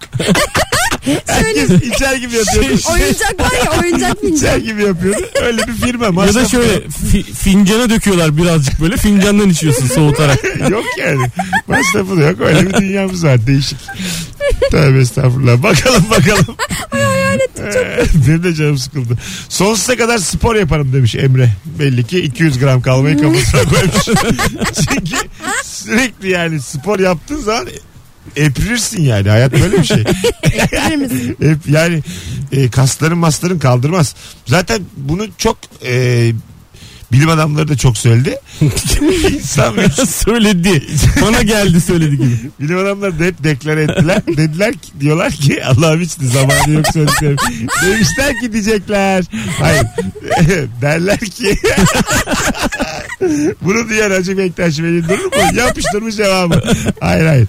[SPEAKER 2] Herkes içer gibi yapıyordu.
[SPEAKER 4] Oyuncak var ya oyuncak
[SPEAKER 2] İçer
[SPEAKER 4] fincan.
[SPEAKER 2] gibi yapıyordu. Öyle bir firma.
[SPEAKER 3] Ya da
[SPEAKER 2] masraf-
[SPEAKER 3] şöyle fi- fincana döküyorlar birazcık böyle fincandan içiyorsun soğutarak.
[SPEAKER 2] yok yani. Masrafı da yok. Öyle bir dünyamız var. Değişik. Tövbe estağfurullah. Bakalım bakalım. Benim de canım sıkıldı. Sonsuza kadar spor yaparım demiş Emre. Belli ki 200 gram kalmayı kafasına koymuş. Çünkü sürekli yani spor yaptığın zaman epirirsin yani. Hayat böyle bir şey.
[SPEAKER 4] Bilir misin?
[SPEAKER 2] Hep yani e, kasların masların kaldırmaz. Zaten bunu çok e, bilim adamları da çok söyledi. İnsan vücudu-
[SPEAKER 3] söyledi. Bana geldi söyledi gibi.
[SPEAKER 2] Bilim adamları da hep deklare ettiler. Dediler ki, diyorlar ki Allah'ım hiç de zamanı yok söylediklerim. Demişler ki diyecekler. Hayır. Derler ki bunu diyen Hacı Bektaş Veli durur mu? Yapıştırmış cevabı. Hayır hayır.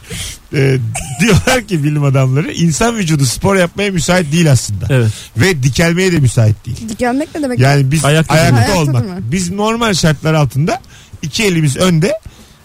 [SPEAKER 2] Ee, diyorlar ki bilim adamları insan vücudu spor yapmaya müsait değil aslında.
[SPEAKER 3] Evet.
[SPEAKER 2] Ve dikelmeye de müsait değil.
[SPEAKER 4] Dikelmek ne demek?
[SPEAKER 2] Yani biz ayakta,
[SPEAKER 3] Ayakta
[SPEAKER 4] durmak.
[SPEAKER 2] olmak.
[SPEAKER 4] Ayakta durmak.
[SPEAKER 2] Biz normal şartlar altında iki elimiz önde,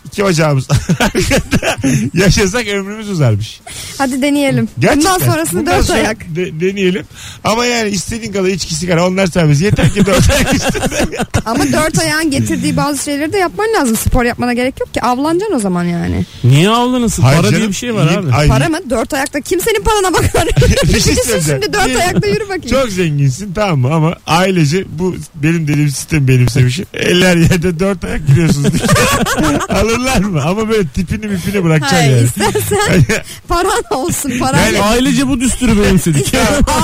[SPEAKER 2] iki bacağımız arkada yaşasak ömrümüz uzarmış.
[SPEAKER 4] Hadi deneyelim. Bundan sonrasını
[SPEAKER 2] Bundan
[SPEAKER 4] dört
[SPEAKER 2] sonra
[SPEAKER 4] ayak.
[SPEAKER 2] de- deneyelim. Ama yani istediğin kadar içki sigara onlar serbest. Yeter ki dört ayak üstünde.
[SPEAKER 4] Ama dört ayağın getirdiği bazı şeyleri de yapman lazım. Spor yapmana gerek yok ki. Avlanacaksın o zaman yani.
[SPEAKER 3] Niye avlanırsın?
[SPEAKER 2] Hayır
[SPEAKER 3] Para diye
[SPEAKER 2] canım,
[SPEAKER 3] bir şey var
[SPEAKER 2] iyi-
[SPEAKER 3] abi.
[SPEAKER 2] Ay,
[SPEAKER 4] Para mı? Dört ayakta. Kimsenin parana bakar.
[SPEAKER 2] Bir şey
[SPEAKER 4] Gitsin
[SPEAKER 2] söyleyeceğim.
[SPEAKER 4] şimdi dört
[SPEAKER 2] Bir-
[SPEAKER 4] ayakta yürü bakayım.
[SPEAKER 2] Çok zenginsin tamam mı ama ailece bu benim dediğim sistem benimsemişim. Eller yerde dört ayak giriyorsunuz. Alırlar alırlar mı? Ama böyle tipini mipini bırakacaksın
[SPEAKER 4] Hayır
[SPEAKER 2] yani.
[SPEAKER 4] istersen paran olsun paran.
[SPEAKER 2] Yani-
[SPEAKER 3] Ailece bu düsturu benimsedik.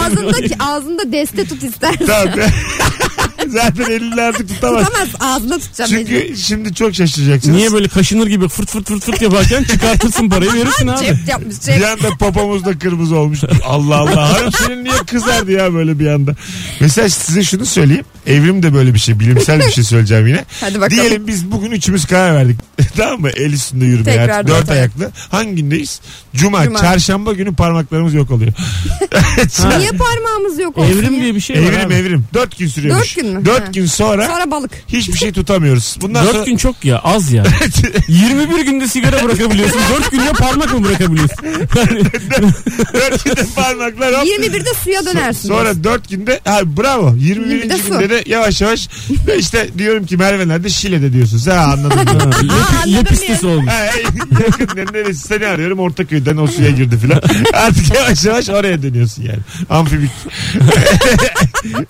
[SPEAKER 4] ağzındaki ağzında deste tut istersen.
[SPEAKER 2] Tamam. Zaten elini artık tutamaz.
[SPEAKER 4] Tutamaz ağzında tutacağım. mecbur.
[SPEAKER 2] Çünkü şimdi çok şaşıracaksınız.
[SPEAKER 3] Niye böyle kaşınır gibi fırt fırt fırt fırt yaparken çıkartırsın parayı verirsin abi.
[SPEAKER 4] Cep yapmış cep.
[SPEAKER 2] Bir anda popomuz da kırmızı olmuş. Allah Allah. Hanım senin niye kızardı ya böyle bir anda? Mesela size şunu söyleyeyim. Evrim de böyle bir şey. Bilimsel bir şey söyleyeceğim yine.
[SPEAKER 4] Hadi bakalım.
[SPEAKER 2] Diyelim biz bugün üçümüz karar verdik. tamam mı? El üstünde yürümeye
[SPEAKER 4] Tekrar
[SPEAKER 2] artık.
[SPEAKER 4] dört
[SPEAKER 2] Dört ayaklı. Hangi gündeyiz? Cuma.
[SPEAKER 4] Cuma.
[SPEAKER 2] Çarşamba günü parmaklarımız yok oluyor.
[SPEAKER 4] Niye parmağımız yok olsun
[SPEAKER 3] Evrim
[SPEAKER 4] ya?
[SPEAKER 3] diye bir şey var
[SPEAKER 2] evrim
[SPEAKER 3] abi.
[SPEAKER 2] evrim. Dört gün sürüyormuş.
[SPEAKER 4] Dört gün mü?
[SPEAKER 2] Dört
[SPEAKER 4] Ha.
[SPEAKER 2] gün sonra,
[SPEAKER 4] Sonra balık.
[SPEAKER 2] hiçbir şey tutamıyoruz. Bundan
[SPEAKER 3] 4
[SPEAKER 2] sonra...
[SPEAKER 3] gün çok ya az ya. 21 günde sigara bırakabiliyorsun. 4 günde parmak mı bırakabiliyorsun? Yani
[SPEAKER 2] Dört günde parmaklar hop.
[SPEAKER 4] 21'de suya dönersin.
[SPEAKER 2] Sonra 4 günde ha, bravo 21.
[SPEAKER 4] 21'de su.
[SPEAKER 2] günde de yavaş yavaş işte diyorum ki Merve nerede Şile'de diyorsun. Sen anladın mı?
[SPEAKER 3] lep-
[SPEAKER 4] anladım
[SPEAKER 3] Lepistesi olmuş.
[SPEAKER 2] Ha, hey, yakın ne- neresi seni arıyorum Ortaköy'den o suya girdi filan. Artık yavaş yavaş oraya dönüyorsun yani. Amfibik.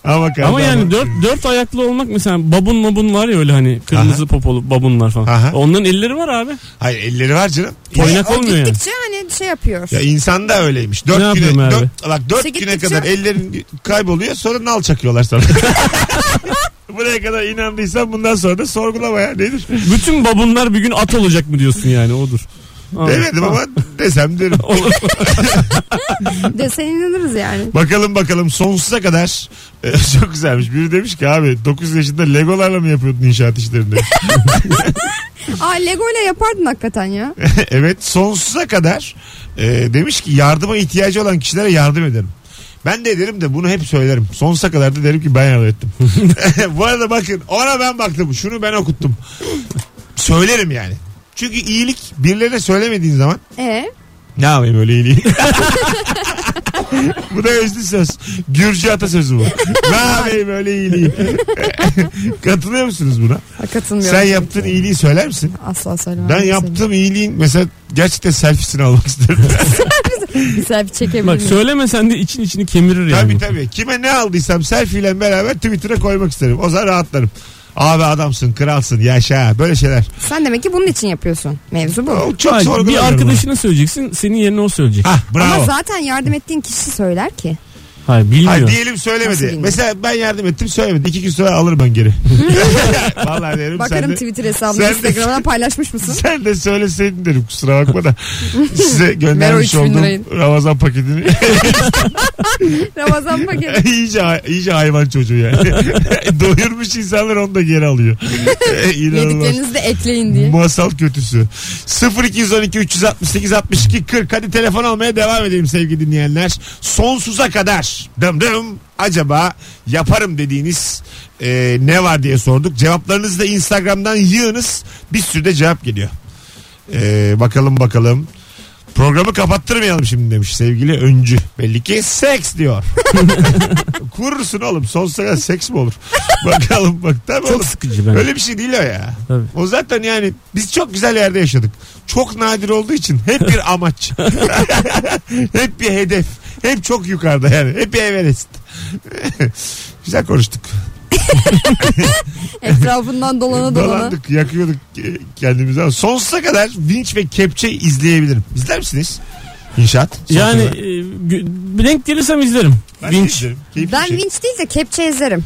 [SPEAKER 2] Ama,
[SPEAKER 3] Ama yani dört, dört ayaklı olmak mesela babun mabun var ya öyle hani kırmızı popolu babunlar falan.
[SPEAKER 2] Aha.
[SPEAKER 3] Onların elleri var abi.
[SPEAKER 2] Hayır elleri var canım.
[SPEAKER 3] Oynak
[SPEAKER 4] O
[SPEAKER 3] olmuyor yani.
[SPEAKER 4] gittikçe hani şey yapıyor.
[SPEAKER 2] Ya insan da öyleymiş.
[SPEAKER 3] Ne
[SPEAKER 2] 4
[SPEAKER 3] yapıyor
[SPEAKER 2] güne,
[SPEAKER 3] Merve?
[SPEAKER 2] dört- bak 4
[SPEAKER 4] Çekip
[SPEAKER 2] güne
[SPEAKER 4] gideceğim.
[SPEAKER 2] kadar ellerin kayboluyor sonra nal çakıyorlar sana. Buraya kadar inandıysan bundan sonra da sorgulama ya nedir?
[SPEAKER 3] Bütün babunlar bir gün at olacak mı diyorsun yani odur. Aa,
[SPEAKER 2] Demedim
[SPEAKER 3] tamam.
[SPEAKER 2] ama desem derim.
[SPEAKER 3] Olur.
[SPEAKER 4] Desen inanırız yani.
[SPEAKER 2] Bakalım bakalım sonsuza kadar. Ee, çok güzelmiş. Biri demiş ki abi 9 yaşında legolarla mı yapıyordun inşaat işlerini? demiş.
[SPEAKER 4] Aa Lego ile yapardın hakikaten ya.
[SPEAKER 2] evet sonsuza kadar e, demiş ki yardıma ihtiyacı olan kişilere yardım ederim. Ben de ederim de bunu hep söylerim. Sonsuza kadar da derim ki ben yardım ettim. Bu arada bakın ona ben baktım. Şunu ben okuttum. Söylerim yani. Çünkü iyilik birilerine söylemediğin zaman
[SPEAKER 4] E
[SPEAKER 2] ne yapayım öyle iyiliği. bu da özlü söz. Gürcü atasözü bu. ne yapayım öyle iyiliği. Katılıyor musunuz buna?
[SPEAKER 4] katılmıyorum.
[SPEAKER 2] Sen yaptığın iyiliği söyler misin?
[SPEAKER 4] Asla söylemem.
[SPEAKER 2] Ben yaptığım iyiliğin mesela gerçekten selfiesini almak isterim.
[SPEAKER 4] Güzel bir çekebilir
[SPEAKER 3] Bak
[SPEAKER 4] miyim?
[SPEAKER 3] söylemesen de için içini kemirir yani.
[SPEAKER 2] tabii tabii. Kime ne aldıysam selfieyle beraber Twitter'a koymak isterim. O zaman rahatlarım. Abi adamsın, kralsın, yaşa. Böyle şeyler.
[SPEAKER 4] Sen demek ki bunun için yapıyorsun. Mevzu bu.
[SPEAKER 2] O Çok
[SPEAKER 3] Hayır,
[SPEAKER 2] sorgulamıyorum.
[SPEAKER 3] bir arkadaşına söyleyeceksin senin yerine o söyleyecek.
[SPEAKER 2] Ah bravo.
[SPEAKER 4] Ama zaten yardım ettiğin kişi söyler ki.
[SPEAKER 3] Hayır bilmiyor.
[SPEAKER 2] Hayır diyelim
[SPEAKER 4] Nasıl
[SPEAKER 2] söylemedi.
[SPEAKER 4] bilmiyorum?
[SPEAKER 2] Mesela ben yardım ettim söylemedi. İki gün sonra alırım ben geri. Vallahi derim sen
[SPEAKER 4] Bakarım
[SPEAKER 2] de-
[SPEAKER 4] Twitter hesabını
[SPEAKER 2] sen de-
[SPEAKER 4] Instagram'dan paylaşmış mısın?
[SPEAKER 2] Sen de söyleseydin derim kusura bakma da size göndermiş
[SPEAKER 4] Ver o üç bin
[SPEAKER 2] olduğum
[SPEAKER 4] lirayı.
[SPEAKER 2] Ramazan paketini
[SPEAKER 4] Ramazan paketi.
[SPEAKER 2] iyice, iyice hayvan çocuğu yani. Doyurmuş insanlar onu da geri alıyor. İnanılmaz.
[SPEAKER 4] Yediklerinizi de ekleyin diye.
[SPEAKER 2] Masal kötüsü. 0212 368 62 40 hadi telefon almaya devam edelim sevgili dinleyenler. Sonsuza kadar dım dım acaba yaparım dediğiniz e, ne var diye sorduk. Cevaplarınızı da Instagram'dan yığınız. Bir sürü de cevap geliyor. E, bakalım bakalım. Programı kapattırmayalım şimdi demiş sevgili Öncü. Belli ki seks diyor. Kurursun oğlum sonsuza kadar seks mi olur? bakalım bak tabii
[SPEAKER 3] Çok
[SPEAKER 2] oğlum.
[SPEAKER 3] sıkıcı ben.
[SPEAKER 2] Öyle bir şey değil o ya.
[SPEAKER 3] Tabii.
[SPEAKER 2] O zaten yani biz çok güzel yerde yaşadık. Çok nadir olduğu için hep bir amaç. hep bir hedef. Hep çok yukarıda yani. Hep bir Everest. güzel konuştuk.
[SPEAKER 4] Etrafından dolana dolana.
[SPEAKER 2] Dolandık, yakıyorduk e, kendimizi. ama Sonsuza kadar vinç ve kepçe izleyebilirim. İzler misiniz? İnşaat. Sonsuza
[SPEAKER 3] Yani
[SPEAKER 2] kadar.
[SPEAKER 3] e, gü- denk gelirsem izlerim.
[SPEAKER 2] Ben de
[SPEAKER 3] Vinç.
[SPEAKER 2] izlerim. Keyifli
[SPEAKER 4] Ben
[SPEAKER 2] bir şey.
[SPEAKER 4] vinç değil de kepçe ezerim.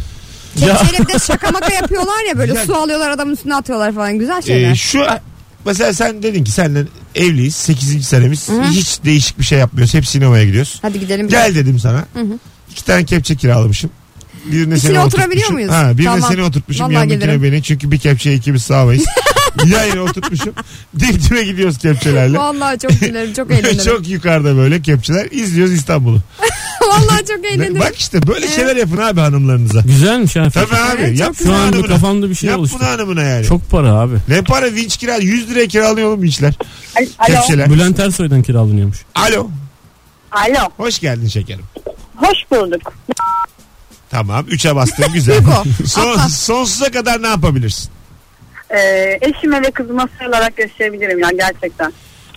[SPEAKER 3] Ya.
[SPEAKER 4] Kepçeyle bir de şaka maka yapıyorlar ya böyle
[SPEAKER 2] Ya.
[SPEAKER 4] su alıyorlar adamın üstüne atıyorlar falan güzel şeyler.
[SPEAKER 2] Ee, şu mesela sen dedin ki senle evliyiz 8. senemiz hiç değişik bir şey yapmıyoruz hep sinemaya gidiyoruz.
[SPEAKER 4] Hadi gidelim.
[SPEAKER 2] Gel dedim sana. İki tane kepçe kiralamışım. Birine
[SPEAKER 4] İçine
[SPEAKER 2] seni
[SPEAKER 4] oturabiliyor
[SPEAKER 2] oturtmuşum.
[SPEAKER 4] muyuz?
[SPEAKER 2] Ha, birine
[SPEAKER 4] Tamam.
[SPEAKER 2] seni oturtmuşum
[SPEAKER 4] Vallahi
[SPEAKER 2] yanındakine
[SPEAKER 4] gelirim.
[SPEAKER 2] beni. Çünkü bir kepçeye ikimiz sığamayız. Yayına oturtmuşum. Dip dibe gidiyoruz kepçelerle.
[SPEAKER 4] Vallahi çok gülerim çok eğlenirim.
[SPEAKER 2] çok yukarıda böyle kepçeler. İzliyoruz İstanbul'u.
[SPEAKER 4] Vallahi çok eğlenirim.
[SPEAKER 2] Bak işte böyle şeyler yapın abi hanımlarınıza.
[SPEAKER 3] Güzelmiş ha.
[SPEAKER 2] Tabii abi.
[SPEAKER 4] Evet, çok
[SPEAKER 2] yap
[SPEAKER 4] güzel.
[SPEAKER 3] Şu
[SPEAKER 2] bunu
[SPEAKER 3] an bir
[SPEAKER 2] hanımına.
[SPEAKER 3] kafamda bir şey
[SPEAKER 2] yap
[SPEAKER 3] oluştu.
[SPEAKER 2] bunu hanımına yani.
[SPEAKER 3] Çok para abi.
[SPEAKER 2] Ne para vinç kira 100 liraya kiralıyor oğlum vinçler.
[SPEAKER 7] Alo.
[SPEAKER 2] Kepçeler.
[SPEAKER 3] Bülent Ersoy'dan kiralanıyormuş.
[SPEAKER 2] Alo.
[SPEAKER 7] Alo.
[SPEAKER 2] Hoş geldin şekerim.
[SPEAKER 7] Hoş bulduk.
[SPEAKER 2] Tamam. 3'e bastın güzel. Son, sonsuza kadar ne yapabilirsin?
[SPEAKER 7] Ee, eşime ve kızıma sarılarak yaşayabilirim yani gerçekten.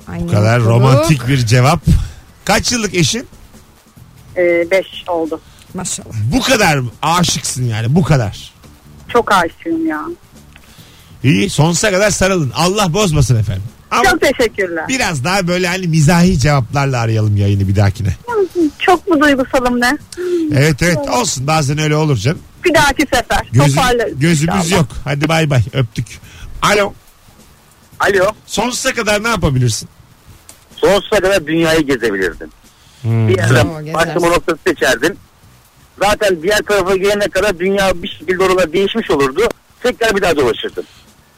[SPEAKER 4] Ay,
[SPEAKER 2] Bu kadar
[SPEAKER 4] mutluluk.
[SPEAKER 2] romantik bir cevap. Kaç yıllık eşin?
[SPEAKER 7] Ee, beş oldu.
[SPEAKER 4] Maşallah.
[SPEAKER 2] Bu kadar mı? aşıksın yani bu kadar.
[SPEAKER 7] Çok aşığım ya.
[SPEAKER 2] İyi sonsuza kadar sarılın. Allah bozmasın efendim. Ama
[SPEAKER 7] Çok teşekkürler.
[SPEAKER 2] biraz daha böyle hani mizahi cevaplarla arayalım yayını bir dahakine.
[SPEAKER 7] Çok mu duygusalım ne?
[SPEAKER 2] Evet evet olsun bazen öyle olur canım.
[SPEAKER 7] Bir dahaki sefer
[SPEAKER 2] Gözü-
[SPEAKER 7] toparlarız.
[SPEAKER 2] gözümüz
[SPEAKER 7] inşallah.
[SPEAKER 2] yok. Hadi bay bay öptük. Alo.
[SPEAKER 6] Alo.
[SPEAKER 2] Sonsuza kadar ne yapabilirsin?
[SPEAKER 6] Sonsuza kadar dünyayı gezebilirdim. Bir
[SPEAKER 4] Oo,
[SPEAKER 6] yerden
[SPEAKER 4] gezersin.
[SPEAKER 6] başlama noktası seçerdim. Zaten diğer tarafa gelene kadar dünya bir şekilde oralar değişmiş olurdu. Tekrar bir daha dolaşırdım.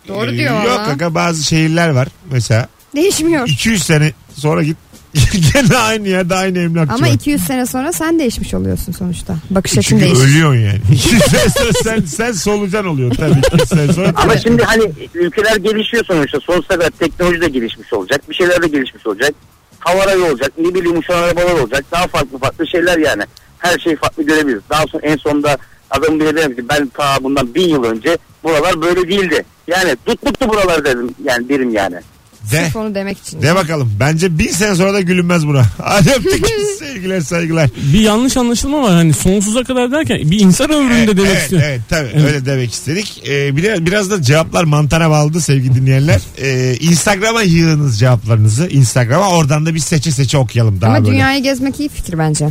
[SPEAKER 4] Doğru diyor
[SPEAKER 2] Yok
[SPEAKER 4] ama.
[SPEAKER 2] kanka bazı şehirler var mesela.
[SPEAKER 4] Değişmiyor.
[SPEAKER 2] 200 sene sonra git. Gene aynı yerde aynı emlakçı
[SPEAKER 4] Ama
[SPEAKER 2] var.
[SPEAKER 4] 200 sene sonra sen değişmiş oluyorsun sonuçta. Bakış açın
[SPEAKER 2] E, Çünkü
[SPEAKER 4] değişiyor.
[SPEAKER 2] ölüyorsun yani. 200 sene sonra sen, sen solucan oluyorsun tabii 200 sene sonra.
[SPEAKER 6] Ama şimdi hani ülkeler gelişiyor sonuçta. Sonsuza kadar teknoloji de gelişmiş olacak. Bir şeyler de gelişmiş olacak. Hava aracı olacak. Ne bileyim uçan arabalar olacak. Daha farklı farklı şeyler yani. Her şeyi farklı görebiliriz. Daha sonra en sonunda adam bile derim ki ben ta bundan bin yıl önce buralar böyle değildi. Yani tuttuktu buralar dedim yani derim yani.
[SPEAKER 2] De.
[SPEAKER 4] Sırf onu demek için.
[SPEAKER 2] De bakalım. Bence bin sene sonra da gülünmez buna. Hadi öptük. Sevgiler saygılar.
[SPEAKER 3] Bir yanlış anlaşılma var hani sonsuza kadar derken bir insan ömründe
[SPEAKER 2] Evet,
[SPEAKER 3] demek
[SPEAKER 2] evet,
[SPEAKER 3] istiyor.
[SPEAKER 2] Evet tabii öyle demek istedik. Ee, biraz, biraz da cevaplar mantara bağladı sevgili dinleyenler. Ee, Instagram'a yığınız cevaplarınızı. Instagram'a oradan da bir seçe seçe okuyalım daha
[SPEAKER 4] Ama
[SPEAKER 2] böyle.
[SPEAKER 4] dünyayı gezmek iyi fikir bence.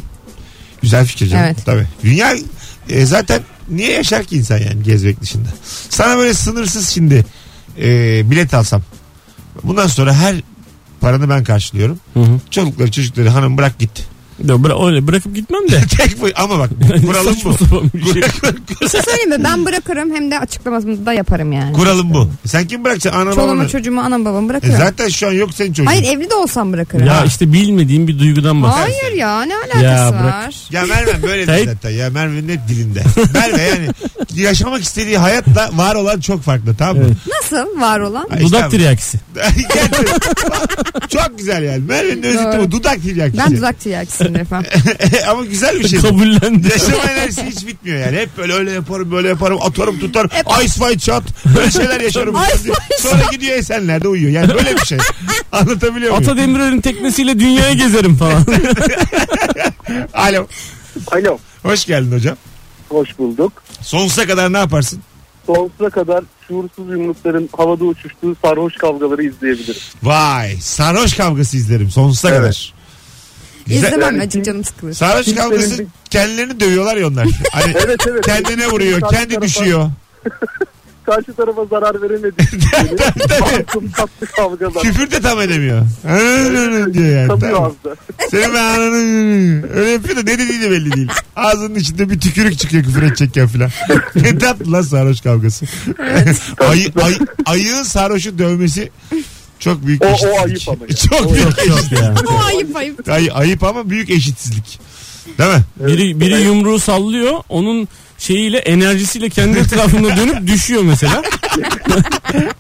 [SPEAKER 2] Güzel fikir canım.
[SPEAKER 4] Evet.
[SPEAKER 2] Tabii. Dünya e, zaten niye yaşar ki insan yani gezmek dışında? Sana böyle sınırsız şimdi e, bilet alsam. Bundan sonra her paranı ben karşılıyorum.
[SPEAKER 3] Hı hı.
[SPEAKER 2] Çocukları çocukları hanım bırak git.
[SPEAKER 3] Ya bıra- öyle bırakıp gitmem de. Hani
[SPEAKER 2] Tek bu ama bak kuralım
[SPEAKER 3] Saçma
[SPEAKER 2] bu.
[SPEAKER 3] sapan bir şey.
[SPEAKER 4] Bir şey söyleyeyim mi?
[SPEAKER 2] Hmm.
[SPEAKER 4] Ben bırakırım hem de açıklamamı da yaparım yani.
[SPEAKER 2] Kuralım bu. Sen kim bırakacaksın? Ana babanı.
[SPEAKER 4] Çoluğumu çocuğumu anam babamı
[SPEAKER 2] E
[SPEAKER 4] bırakırım.
[SPEAKER 2] zaten şu an yok senin çocuğun.
[SPEAKER 4] Hayır evli de olsam bırakırım.
[SPEAKER 3] ya işte bilmediğim bir duygudan bahsediyorum.
[SPEAKER 4] Hayır ya ne alakası
[SPEAKER 3] Ya bırak.
[SPEAKER 4] var?
[SPEAKER 2] Ya Merve böyle
[SPEAKER 3] Tayyip-
[SPEAKER 2] dedi zaten. Ya Merve'nin hep dilinde. Merve yani yaşamak istediği hayatla var olan çok farklı tamam mı?
[SPEAKER 4] Nasıl var olan?
[SPEAKER 2] Ay, işte
[SPEAKER 3] Dudak
[SPEAKER 2] abi.
[SPEAKER 3] tiryakisi.
[SPEAKER 2] Gerçekten. çok güzel yani. Merve'nin özeti
[SPEAKER 4] Doğru.
[SPEAKER 2] bu. Dudak tiryakisi.
[SPEAKER 4] Ben dudak tiryakisiyim efendim.
[SPEAKER 2] Ama güzel bir şey. bu.
[SPEAKER 3] Kabullendi.
[SPEAKER 2] Yaşam enerjisi hiç bitmiyor yani. Hep böyle öyle yaparım böyle yaparım atarım tutarım.
[SPEAKER 4] Hep-
[SPEAKER 2] Ice white shot. Böyle şeyler yaşarım. Sonra gidiyor Esenler'de uyuyor. Yani böyle bir şey. Anlatabiliyor muyum?
[SPEAKER 3] Ata Demirer'in teknesiyle dünyaya gezerim falan.
[SPEAKER 2] Alo.
[SPEAKER 5] Alo.
[SPEAKER 2] Hoş geldin hocam.
[SPEAKER 5] Hoş bulduk.
[SPEAKER 2] Sonsuza kadar ne yaparsın?
[SPEAKER 5] Sonsuza kadar şuursuz yumrukların havada uçuştuğu sarhoş kavgaları izleyebilirim.
[SPEAKER 2] Vay. Sarhoş kavgası izlerim sonsuza
[SPEAKER 5] Evet.
[SPEAKER 2] kadar. Güzel.
[SPEAKER 4] İzlemem acık canım sıkılır.
[SPEAKER 2] Sarhoş kavgası
[SPEAKER 5] Kimsenin-
[SPEAKER 2] kendilerini dövüyorlar ya onlar. Hani
[SPEAKER 5] Evet evet.
[SPEAKER 2] kendine vuruyor,
[SPEAKER 5] Karşı
[SPEAKER 2] kendi
[SPEAKER 5] tarafa-
[SPEAKER 2] düşüyor.
[SPEAKER 5] Karşı tarafa zarar veremedik.
[SPEAKER 2] Tabii, tabii.
[SPEAKER 5] Masum tatlı kavgalar.
[SPEAKER 2] Küfür de tam edemiyor. Ananın diyor yani.
[SPEAKER 5] Tabii
[SPEAKER 2] Tamam.
[SPEAKER 5] ağızda.
[SPEAKER 2] Senin ben ananın öyle yapıyor da ne dediği de belli değil. Ağzının içinde bir tükürük çıkıyor küfür edecekken filan. ne tatlı lan sarhoş kavgası. Ayı, ay, ayığın sarhoşu dövmesi çok büyük
[SPEAKER 5] O- o
[SPEAKER 2] eşitsizlik.
[SPEAKER 5] ayıp ama ya.
[SPEAKER 2] Çok büyük eşitsizlik.
[SPEAKER 4] Ama ayıp ayıp.
[SPEAKER 2] Ay, ayıp ama büyük eşitsizlik. Değil mi?
[SPEAKER 3] biri, biri yumruğu sallıyor. Onun şeyiyle enerjisiyle kendi etrafında dönüp düşüyor mesela.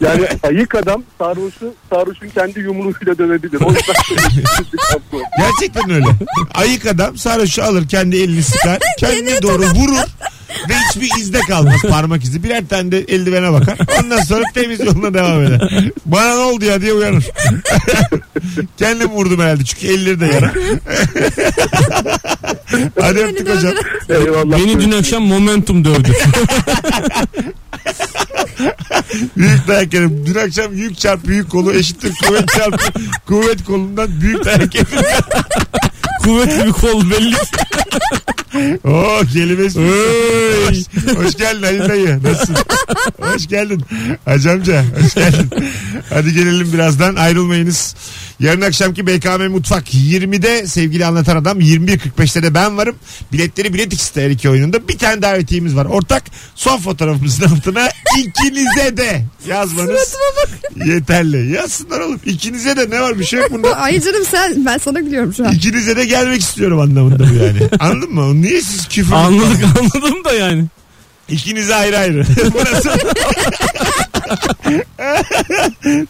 [SPEAKER 5] Yani ayık adam sarhoşu sarhoşun kendi yumruğuyla dövebilir. O yüzden
[SPEAKER 2] Gerçekten öyle. Ayık adam sarhoşu alır kendi elini sıkar. Kendine doğru vurur. Ve hiçbir izde kalmaz parmak izi. Birer tane de eldivene bakar. Ondan sonra temiz yoluna devam eder. Bana ne oldu ya diye uyanır. Kendim vurdum herhalde çünkü elleri de yara. Hadi öptük hocam.
[SPEAKER 5] eyvallah.
[SPEAKER 3] Beni dün akşam momentum dövdü.
[SPEAKER 2] Büyük dayak yerim. Dün akşam yük çarp büyük kolu eşittir kuvvet çarp kuvvet kolundan büyük dayak yedim.
[SPEAKER 3] Kuvvetli bir kol belli.
[SPEAKER 2] Oo kelimesi. hoş, Oh, hoş geldin Halil dayı. Nasılsın? hoş geldin. Hacı amca hoş geldin. Hadi gelelim birazdan ayrılmayınız. Yarın akşamki BKM Mutfak 20'de sevgili anlatan adam 21.45'te de ben varım. Biletleri Bilet X'te her iki oyununda bir tane davetiyemiz var. Ortak son fotoğrafımızın altına ikinize de yazmanız yeterli. Yazsınlar oğlum. İkinize de ne var bir şey yok bunda.
[SPEAKER 4] Ay canım sen ben sana gülüyorum şu an.
[SPEAKER 2] İkinize de gelmek istiyorum anlamında bu yani. Anladın mı? Niye siz küfür
[SPEAKER 3] Anladık anladım da yani.
[SPEAKER 2] İkinize ayrı ayrı. Burası...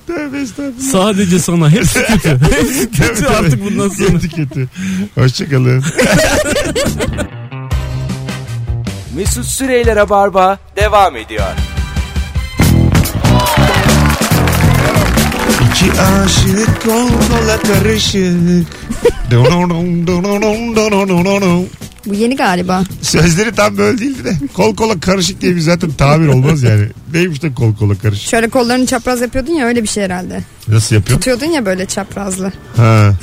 [SPEAKER 2] Tövbe estağfurullah.
[SPEAKER 3] Sadece sana. Hepsi kötü. Hepsi
[SPEAKER 2] Tövbe,
[SPEAKER 3] kötü
[SPEAKER 2] tövbe.
[SPEAKER 3] artık bundan sonra.
[SPEAKER 2] Kötü kötü. Hoşçakalın.
[SPEAKER 1] Mesut Süreyler'e barba devam ediyor.
[SPEAKER 2] İki aşık kol kola karışık.
[SPEAKER 4] Bu yeni galiba.
[SPEAKER 2] Sözleri tam böyle değildi de. Kol kola karışık diye bir zaten tabir olmaz yani. Neymiş de kol kola karışık.
[SPEAKER 4] Şöyle kollarını çapraz yapıyordun ya öyle bir şey herhalde.
[SPEAKER 2] Nasıl yapıyor?
[SPEAKER 4] Tutuyordun ya böyle çaprazlı.
[SPEAKER 2] Ha.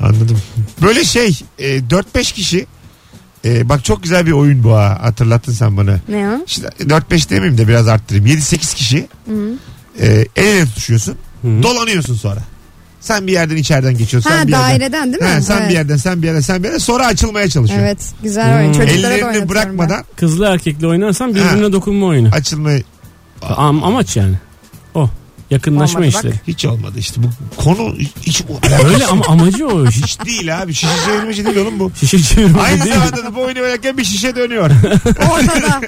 [SPEAKER 2] Anladım. Böyle şey e, 4-5 kişi e, bak çok güzel bir oyun bu ha. Hatırlattın sen bana.
[SPEAKER 4] Ne o?
[SPEAKER 2] Şimdi 4-5 demeyeyim de biraz arttırayım. 7-8 kişi e, el ele tutuşuyorsun. Dolanıyorsun sonra. Sen bir yerden içeriden geçiyorsun. sen
[SPEAKER 4] Ha
[SPEAKER 2] bir yerden.
[SPEAKER 4] daireden değil mi?
[SPEAKER 2] Ha, sen
[SPEAKER 4] evet.
[SPEAKER 2] bir yerden sen bir yerden sen bir yerden sonra açılmaya çalışıyor.
[SPEAKER 4] Evet güzel oyun. Çocuklara
[SPEAKER 2] Hmm.
[SPEAKER 4] da
[SPEAKER 2] Ellerini
[SPEAKER 4] oynatıyorum
[SPEAKER 2] bırakmadan
[SPEAKER 3] Kızlı erkekle oynarsan birbirine dokunma oyunu.
[SPEAKER 2] açılmayı
[SPEAKER 3] Am- amaç yani. O. Yakınlaşma
[SPEAKER 4] Olmadı
[SPEAKER 3] işte.
[SPEAKER 2] hiç olmadı işte bu konu hiç
[SPEAKER 3] Öyle ama amacı o. Şiş,
[SPEAKER 2] hiç değil abi şişe çevirmeci değil oğlum bu.
[SPEAKER 3] şişe çevirme
[SPEAKER 2] Aynı
[SPEAKER 3] değil.
[SPEAKER 2] zamanda da bu oyunu oynarken bir şişe dönüyor.
[SPEAKER 4] ben. Ortada.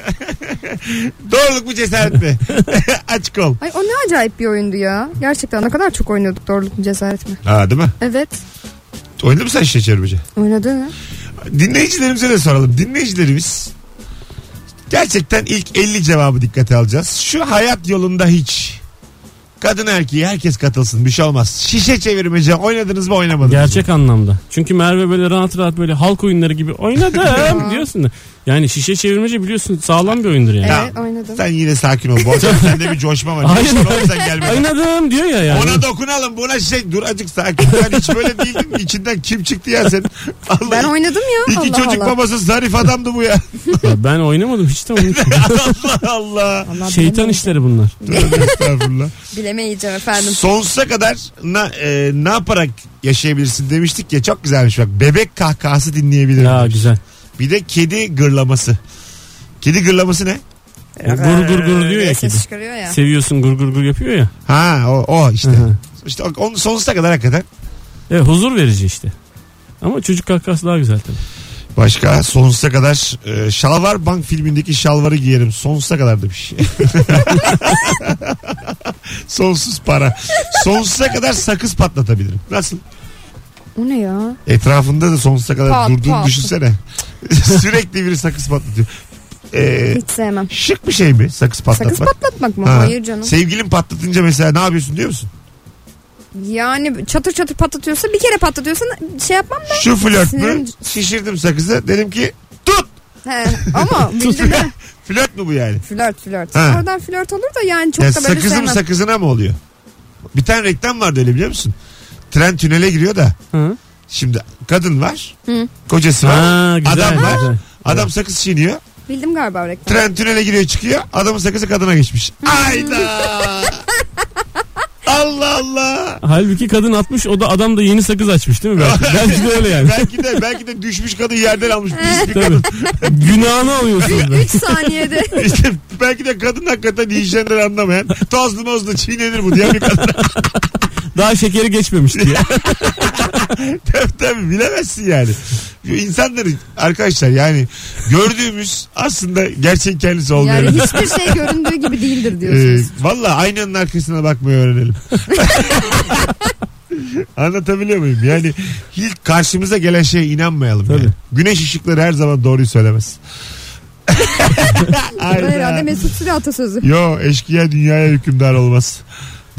[SPEAKER 2] Doğruluk mu cesaret mi? Aç kol.
[SPEAKER 4] Ay o ne acayip bir oyundu ya. Gerçekten ne kadar çok oynuyorduk doğruluk mu cesaret mi?
[SPEAKER 2] Ha değil mi?
[SPEAKER 4] Evet.
[SPEAKER 2] Oynadı mı sen şişe çevirmeci?
[SPEAKER 4] Oynadı mı?
[SPEAKER 2] Dinleyicilerimize de soralım. Dinleyicilerimiz gerçekten ilk 50 cevabı dikkate alacağız. Şu hayat yolunda hiç. Kadın erkeği herkes katılsın bir şey olmaz. Şişe çevirmece oynadınız mı oynamadınız mı?
[SPEAKER 3] Gerçek anlamda. Çünkü Merve böyle rahat rahat böyle halk oyunları gibi oynadım diyorsun da. Yani şişe çevirmece biliyorsun sağlam bir oyundur yani.
[SPEAKER 2] Ya,
[SPEAKER 4] Evet oynadım.
[SPEAKER 2] Sen yine sakin ol. Bu akşam sende bir coşma var. Ne
[SPEAKER 3] Aynen.
[SPEAKER 2] işin oğlum sen gelmedin.
[SPEAKER 3] Oynadım diyor ya yani.
[SPEAKER 2] Ona dokunalım buna şey dur acık sakin. Ben hiç böyle değildim. İçinden kim çıktı ya sen? Allah,
[SPEAKER 4] Ben oynadım ya.
[SPEAKER 2] İki
[SPEAKER 4] Allah
[SPEAKER 2] çocuk
[SPEAKER 4] Allah.
[SPEAKER 2] babası zarif adamdı bu ya.
[SPEAKER 3] Ya ben oynamadım hiç de oynamadım.
[SPEAKER 2] Allah Allah.
[SPEAKER 4] Allah
[SPEAKER 3] Şeytan
[SPEAKER 4] bilemeyeceğim.
[SPEAKER 3] işleri bunlar.
[SPEAKER 2] Tövbe estağfurullah.
[SPEAKER 4] Bilemeyeceğim efendim.
[SPEAKER 2] Sonsuza kadar na, e, ne yaparak yaşayabilirsin demiştik ya çok güzelmiş bak. Bebek kahkahası dinleyebilirim.
[SPEAKER 3] Ya güzel.
[SPEAKER 2] Bir de kedi gırlaması. Kedi gırlaması ne?
[SPEAKER 3] E, Gur gur gur diyor ya kedi.
[SPEAKER 4] Ses çıkarıyor Ee, ya.
[SPEAKER 3] Seviyorsun gur gur gur yapıyor ya.
[SPEAKER 2] Ha o, o işte.
[SPEAKER 3] Hı hı.
[SPEAKER 2] işte o- onun sonsuza kadar hakikaten.
[SPEAKER 3] Evet E, huzur verici işte. Ama çocuk kahkahası daha güzel tabii.
[SPEAKER 2] Başka sonsuza kadar e, Şalvar Bank filmindeki şalvarı giyerim. Sonsuza kadar demiş. Sonsuz para. Sonsuza kadar sakız patlatabilirim. Nasıl?
[SPEAKER 4] O ne ya?
[SPEAKER 2] Etrafında da sonsuza kadar
[SPEAKER 4] Pat,
[SPEAKER 2] durduğunu
[SPEAKER 4] pat.
[SPEAKER 2] düşünsene. Sürekli biri sakız patlatıyor. E,
[SPEAKER 4] Hiç sevmem.
[SPEAKER 2] şık bir şey mi sakız patlatmak?
[SPEAKER 4] Sakız patlatmak mı?
[SPEAKER 2] Ha.
[SPEAKER 4] Hayır canım.
[SPEAKER 2] Sevgilin patlatınca mesela ne yapıyorsun diyor musun?
[SPEAKER 4] Yani çatır çatır patlatıyorsa bir kere patlatıyorsa şey yapmam ben.
[SPEAKER 2] Şu flört mü?
[SPEAKER 4] Sinirim-
[SPEAKER 2] Şişirdim sakızı. Dedim ki tut.
[SPEAKER 4] He, ama bildin mi?
[SPEAKER 2] Flört mü bu yani?
[SPEAKER 4] Flört flört.
[SPEAKER 2] Ha.
[SPEAKER 4] Oradan flört olur da yani çok
[SPEAKER 2] Ya
[SPEAKER 4] da böyle
[SPEAKER 2] sakızım
[SPEAKER 4] sevmem.
[SPEAKER 2] sakızına mı oluyor? Bir tane reklam vardı öyle biliyor musun? Tren tünele giriyor da.
[SPEAKER 3] Hı.
[SPEAKER 2] Şimdi kadın var.
[SPEAKER 4] Hı.
[SPEAKER 2] Kocası var.
[SPEAKER 3] Ha, güzel,
[SPEAKER 2] adam var.
[SPEAKER 3] güzel.
[SPEAKER 2] Adam sakız çiğniyor.
[SPEAKER 4] Bildim galiba reklam.
[SPEAKER 2] Tren tünele giriyor çıkıyor. Adamın sakızı kadına geçmiş. Ayda. Allah Allah.
[SPEAKER 3] Halbuki kadın atmış o da adam da yeni sakız açmış değil mi? Belki, belki de öyle yani.
[SPEAKER 2] Belki de belki de düşmüş kadın yerden almış. Pis bir
[SPEAKER 3] Tabii.
[SPEAKER 2] kadın.
[SPEAKER 3] Günahını alıyorsun. be.
[SPEAKER 4] 3 saniyede
[SPEAKER 2] İşte belki de kadın hakikaten hijyenden anlamayan. Tozlu mozlu çiğnenir bu diye bir kadın.
[SPEAKER 3] Daha şekeri geçmemiş diye.
[SPEAKER 2] tabii tabii bilemezsin yani. Bu İnsanların arkadaşlar yani gördüğümüz aslında gerçek kendisi olmuyor.
[SPEAKER 4] yani hiçbir şey göründüğü gibi değildir
[SPEAKER 2] Ee,
[SPEAKER 4] diyorsunuz.
[SPEAKER 2] Valla aynanın arkasına bakmayı öğrenelim. Anlatabiliyor muyum? Yani hiç karşımıza gelen şeye inanmayalım.
[SPEAKER 3] Tabii.
[SPEAKER 2] yani. Güneş ışıkları her zaman doğruyu söylemez. Ee,
[SPEAKER 4] Bu herhalde
[SPEAKER 2] Hayda.
[SPEAKER 4] Mesut Süre atasözü.
[SPEAKER 2] Yo eşkıya dünyaya hükümdar olmaz.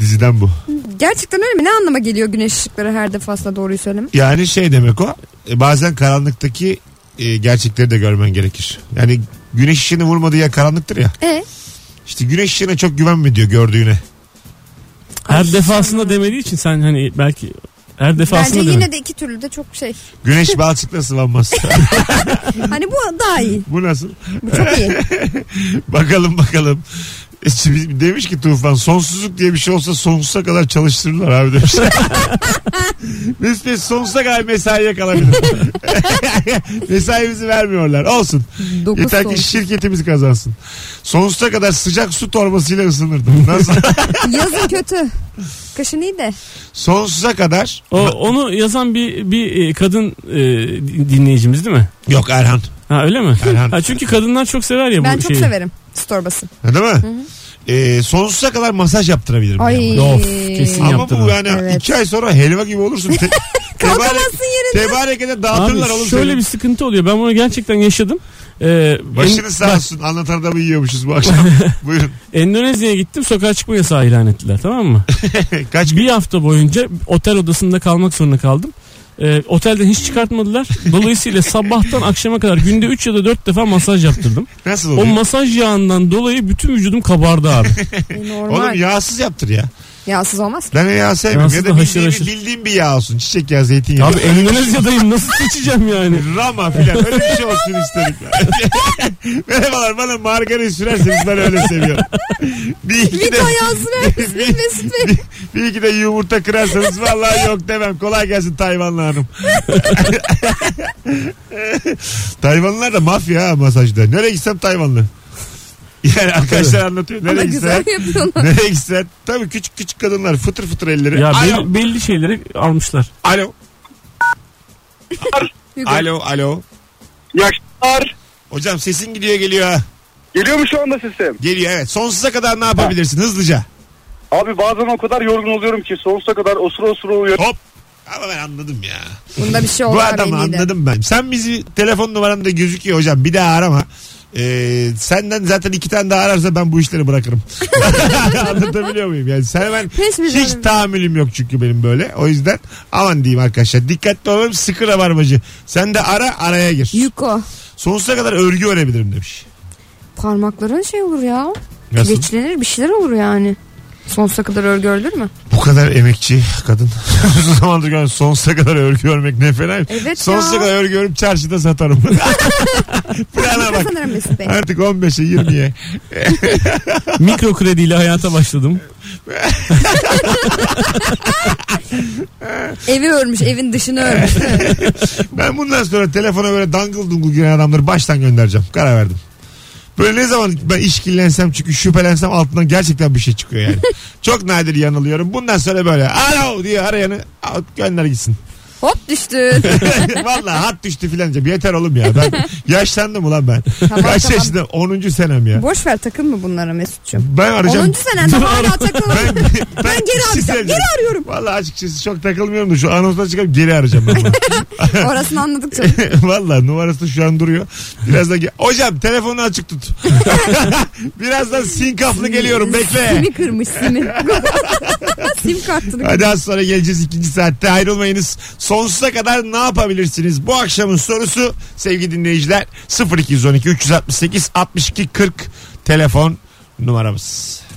[SPEAKER 2] Diziden bu.
[SPEAKER 4] Gerçekten öyle mi? Ne anlama geliyor güneş ışıkları her defasında doğruyu söyleme?
[SPEAKER 2] Yani şey demek o. e, Bazen karanlıktaki e, gerçekleri de görmen gerekir. Yani güneş ışığını vurmadığı yer karanlıktır ya.
[SPEAKER 4] E
[SPEAKER 2] İşte güneş ışığına çok güvenme diyor gördüğüne.
[SPEAKER 3] Her defasında demediği için sen hani belki her
[SPEAKER 4] bence
[SPEAKER 3] defasında
[SPEAKER 4] yine
[SPEAKER 3] demek.
[SPEAKER 4] de iki türlü de çok şey.
[SPEAKER 2] Güneş balçıkla sıvanmaz.
[SPEAKER 4] Hani bu daha iyi.
[SPEAKER 2] bu nasıl?
[SPEAKER 4] Bu çok iyi.
[SPEAKER 2] Bakalım bakalım. E, şimdi Demiş ki Tufan sonsuzluk diye bir şey olsa sonsuza kadar çalıştırırlar abi demiş. Mesut Bey, sonsuza kadar mesaiye kalabilir. Mesaimizi vermiyorlar. Olsun.
[SPEAKER 4] Dokuz
[SPEAKER 2] Yeter
[SPEAKER 4] son.
[SPEAKER 2] ki şey- şirketimiz kazansın. Sonsuza kadar sıcak su torbasıyla ısınırdım. Nasıl?
[SPEAKER 4] Yazın kötü. Kışın iyi de.
[SPEAKER 2] Sonsuza kadar.
[SPEAKER 3] O, onu yazan bir bir e, kadın e, dinleyicimiz değil mi?
[SPEAKER 2] Yok Erhan.
[SPEAKER 3] Ha öyle mi?
[SPEAKER 2] Erhan.
[SPEAKER 3] Ha, çünkü kadınlar çok sever ya bu şey-
[SPEAKER 4] Ben çok
[SPEAKER 3] şeyi.
[SPEAKER 4] severim storbası.
[SPEAKER 2] Değil mi? Ee, sonsuza kadar masaj yaptırabilirim. yani.
[SPEAKER 4] Ay.
[SPEAKER 3] Of, kesin
[SPEAKER 2] Ama
[SPEAKER 3] yaptırma.
[SPEAKER 2] bu yani
[SPEAKER 4] Evet.
[SPEAKER 2] iki ay sonra helva gibi olursun. Te-
[SPEAKER 4] Kalkamazsın yerinden.
[SPEAKER 2] Tebareke de
[SPEAKER 3] Abi
[SPEAKER 2] dağıtırlar oğlum
[SPEAKER 3] şöyle
[SPEAKER 2] seni.
[SPEAKER 3] bir sıkıntı oluyor. Ben bunu gerçekten yaşadım. Ee,
[SPEAKER 2] Başını sağ olsun anlatan adamı yiyormuşuz bu akşam. Buyurun.
[SPEAKER 3] en- Endonezya'ya gittim. Sokağa çıkma yasağı ilan ettiler tamam mı?
[SPEAKER 2] Kaç
[SPEAKER 3] bir hafta boyunca otel odasında kalmak zorunda kaldım. Ee, Ee, otelden hiç çıkartmadılar. Dolayısıyla sabahtan akşama kadar günde 3 ya da 4 defa masaj yaptırdım.
[SPEAKER 2] Nasıl
[SPEAKER 3] O
[SPEAKER 2] oluyor?
[SPEAKER 3] masaj yağından dolayı bütün vücudum kabardı abi.
[SPEAKER 4] E, Normal.
[SPEAKER 2] Oğlum yağsız yaptır ya.
[SPEAKER 4] Yağsız olmaz ki.
[SPEAKER 2] Ben yağ sevmiyorum.
[SPEAKER 3] Yağsız
[SPEAKER 2] Ya
[SPEAKER 3] da
[SPEAKER 2] da
[SPEAKER 3] haşır
[SPEAKER 2] bildiğim,
[SPEAKER 3] haşır.
[SPEAKER 2] bildiğim bir yağ olsun. Çiçek yağı, zeytinyağı.
[SPEAKER 3] Abi Endonezya'dayım nasıl seçeceğim yani?
[SPEAKER 2] Rama filan öyle bir şey olsun isterim. Merhabalar bana margarin sürerseniz ben öyle seviyorum. Bir iki de,
[SPEAKER 4] Vito yağsız vermesin
[SPEAKER 2] Bir-
[SPEAKER 4] Mesut Bey.
[SPEAKER 2] bir iki de yumurta kırarsanız vallahi yok demem. Kolay gelsin Tayvanlı hanım. Tayvanlılar da mafya ha masajda. Nereye gitsem Tayvanlı. Yani arkadaşlar anlatıyor.
[SPEAKER 4] Ama
[SPEAKER 2] Nereye
[SPEAKER 4] güzel
[SPEAKER 2] gitsen.
[SPEAKER 4] yapıyorlar.
[SPEAKER 2] Nereye gitsen. Tabii küçük küçük kadınlar fıtır fıtır elleri.
[SPEAKER 3] Ya
[SPEAKER 2] alo,
[SPEAKER 3] belli, belli şeyleri almışlar.
[SPEAKER 2] alo,
[SPEAKER 4] Hugo.
[SPEAKER 2] alo, alo.
[SPEAKER 5] Yaşlar.
[SPEAKER 2] Hocam sesin gidiyor geliyor ha.
[SPEAKER 5] Geliyor mu şu anda sesim?
[SPEAKER 2] Geliyor evet. Sonsuza kadar ne yapabilirsin hızlıca?
[SPEAKER 5] Abi bazen o kadar yorgun oluyorum ki sonsuza kadar osura osura uyuyorum.
[SPEAKER 2] Hop. Ama ben anladım ya.
[SPEAKER 4] Bunda bir şey oldu
[SPEAKER 2] Bu
[SPEAKER 4] abi
[SPEAKER 2] adamı
[SPEAKER 4] eminim.
[SPEAKER 2] anladım ben. Sen bizi telefon numaranda gözüküyor hocam. Bir daha arama. Ee, senden zaten iki tane daha ararsa ben bu işleri bırakırım. Anlatabiliyor muyum? Yani sen ben
[SPEAKER 4] Hiçbir
[SPEAKER 2] hiç
[SPEAKER 4] zaman-
[SPEAKER 2] tahammülüm yok çünkü benim böyle. O yüzden aman diyeyim arkadaşlar. Dikkatli olalım sıkı rabarbacı. Sen de ara araya gir.
[SPEAKER 4] Yuko.
[SPEAKER 2] Sonsuza kadar örgü örebilirim demiş.
[SPEAKER 4] Parmakların şey olur ya.
[SPEAKER 2] Nasıl?
[SPEAKER 4] Geçlenir bir şeyler olur yani. Sonsuza kadar örgü örülür mü?
[SPEAKER 2] Bu kadar emekçi kadın. Uzun zamandır görmüyorum. Sonsuza kadar örgü örmek ne fena.
[SPEAKER 4] Evet
[SPEAKER 2] Sonsuza
[SPEAKER 4] ya.
[SPEAKER 2] kadar örgü örüp çarşıda satarım. Plana bak.
[SPEAKER 4] Sanırım Mesut Bey.
[SPEAKER 2] Artık 15'e 20'ye.
[SPEAKER 3] Mikro krediyle hayata başladım.
[SPEAKER 4] Evi örmüş, evin dışını örmüş.
[SPEAKER 2] Ben bundan sonra telefona böyle dangıl dungul giren adamları baştan göndereceğim. Karar verdim. Böyle ne zaman ben işkillensem çünkü şüphelensem altından gerçekten bir şey çıkıyor yani. Çok nadir yanılıyorum. Bundan sonra böyle alo diye arayanı al, gönder gitsin.
[SPEAKER 4] Hop düştün.
[SPEAKER 2] Vallahi hat düştü filan diyeceğim. Yeter oğlum ya. Ben yaşlandım ulan ben.
[SPEAKER 4] Tamam,
[SPEAKER 2] Kaç
[SPEAKER 4] tamam.
[SPEAKER 2] yaşında? 10. senem ya.
[SPEAKER 4] Boş ver takılma bunlara Mesut'cum.
[SPEAKER 2] Ben arayacağım.
[SPEAKER 4] 10. senende hala takılmadın. Ben
[SPEAKER 2] Bir
[SPEAKER 4] geri
[SPEAKER 2] şey
[SPEAKER 4] arayacağım. Geri
[SPEAKER 2] söyleyeceğim.
[SPEAKER 4] arıyorum.
[SPEAKER 2] Vallahi açıkçası çok takılmıyorum da şu anonsdan çıkıp geri arayacağım ben bunu.
[SPEAKER 4] Orasını anladık çok.
[SPEAKER 2] Vallahi numarası şu an duruyor. Birazdan ge- Hocam telefonu açık tut. Birazdan sinkaflı geliyorum bekle.
[SPEAKER 4] Simi kırmış simi. Sim kartını
[SPEAKER 2] Hadi az sonra geleceğiz ikinci saatte ayrılmayınız. Sonsuza kadar ne yapabilirsiniz? Bu akşamın sorusu sevgili dinleyiciler 0212 368 62 40 telefon numaramız.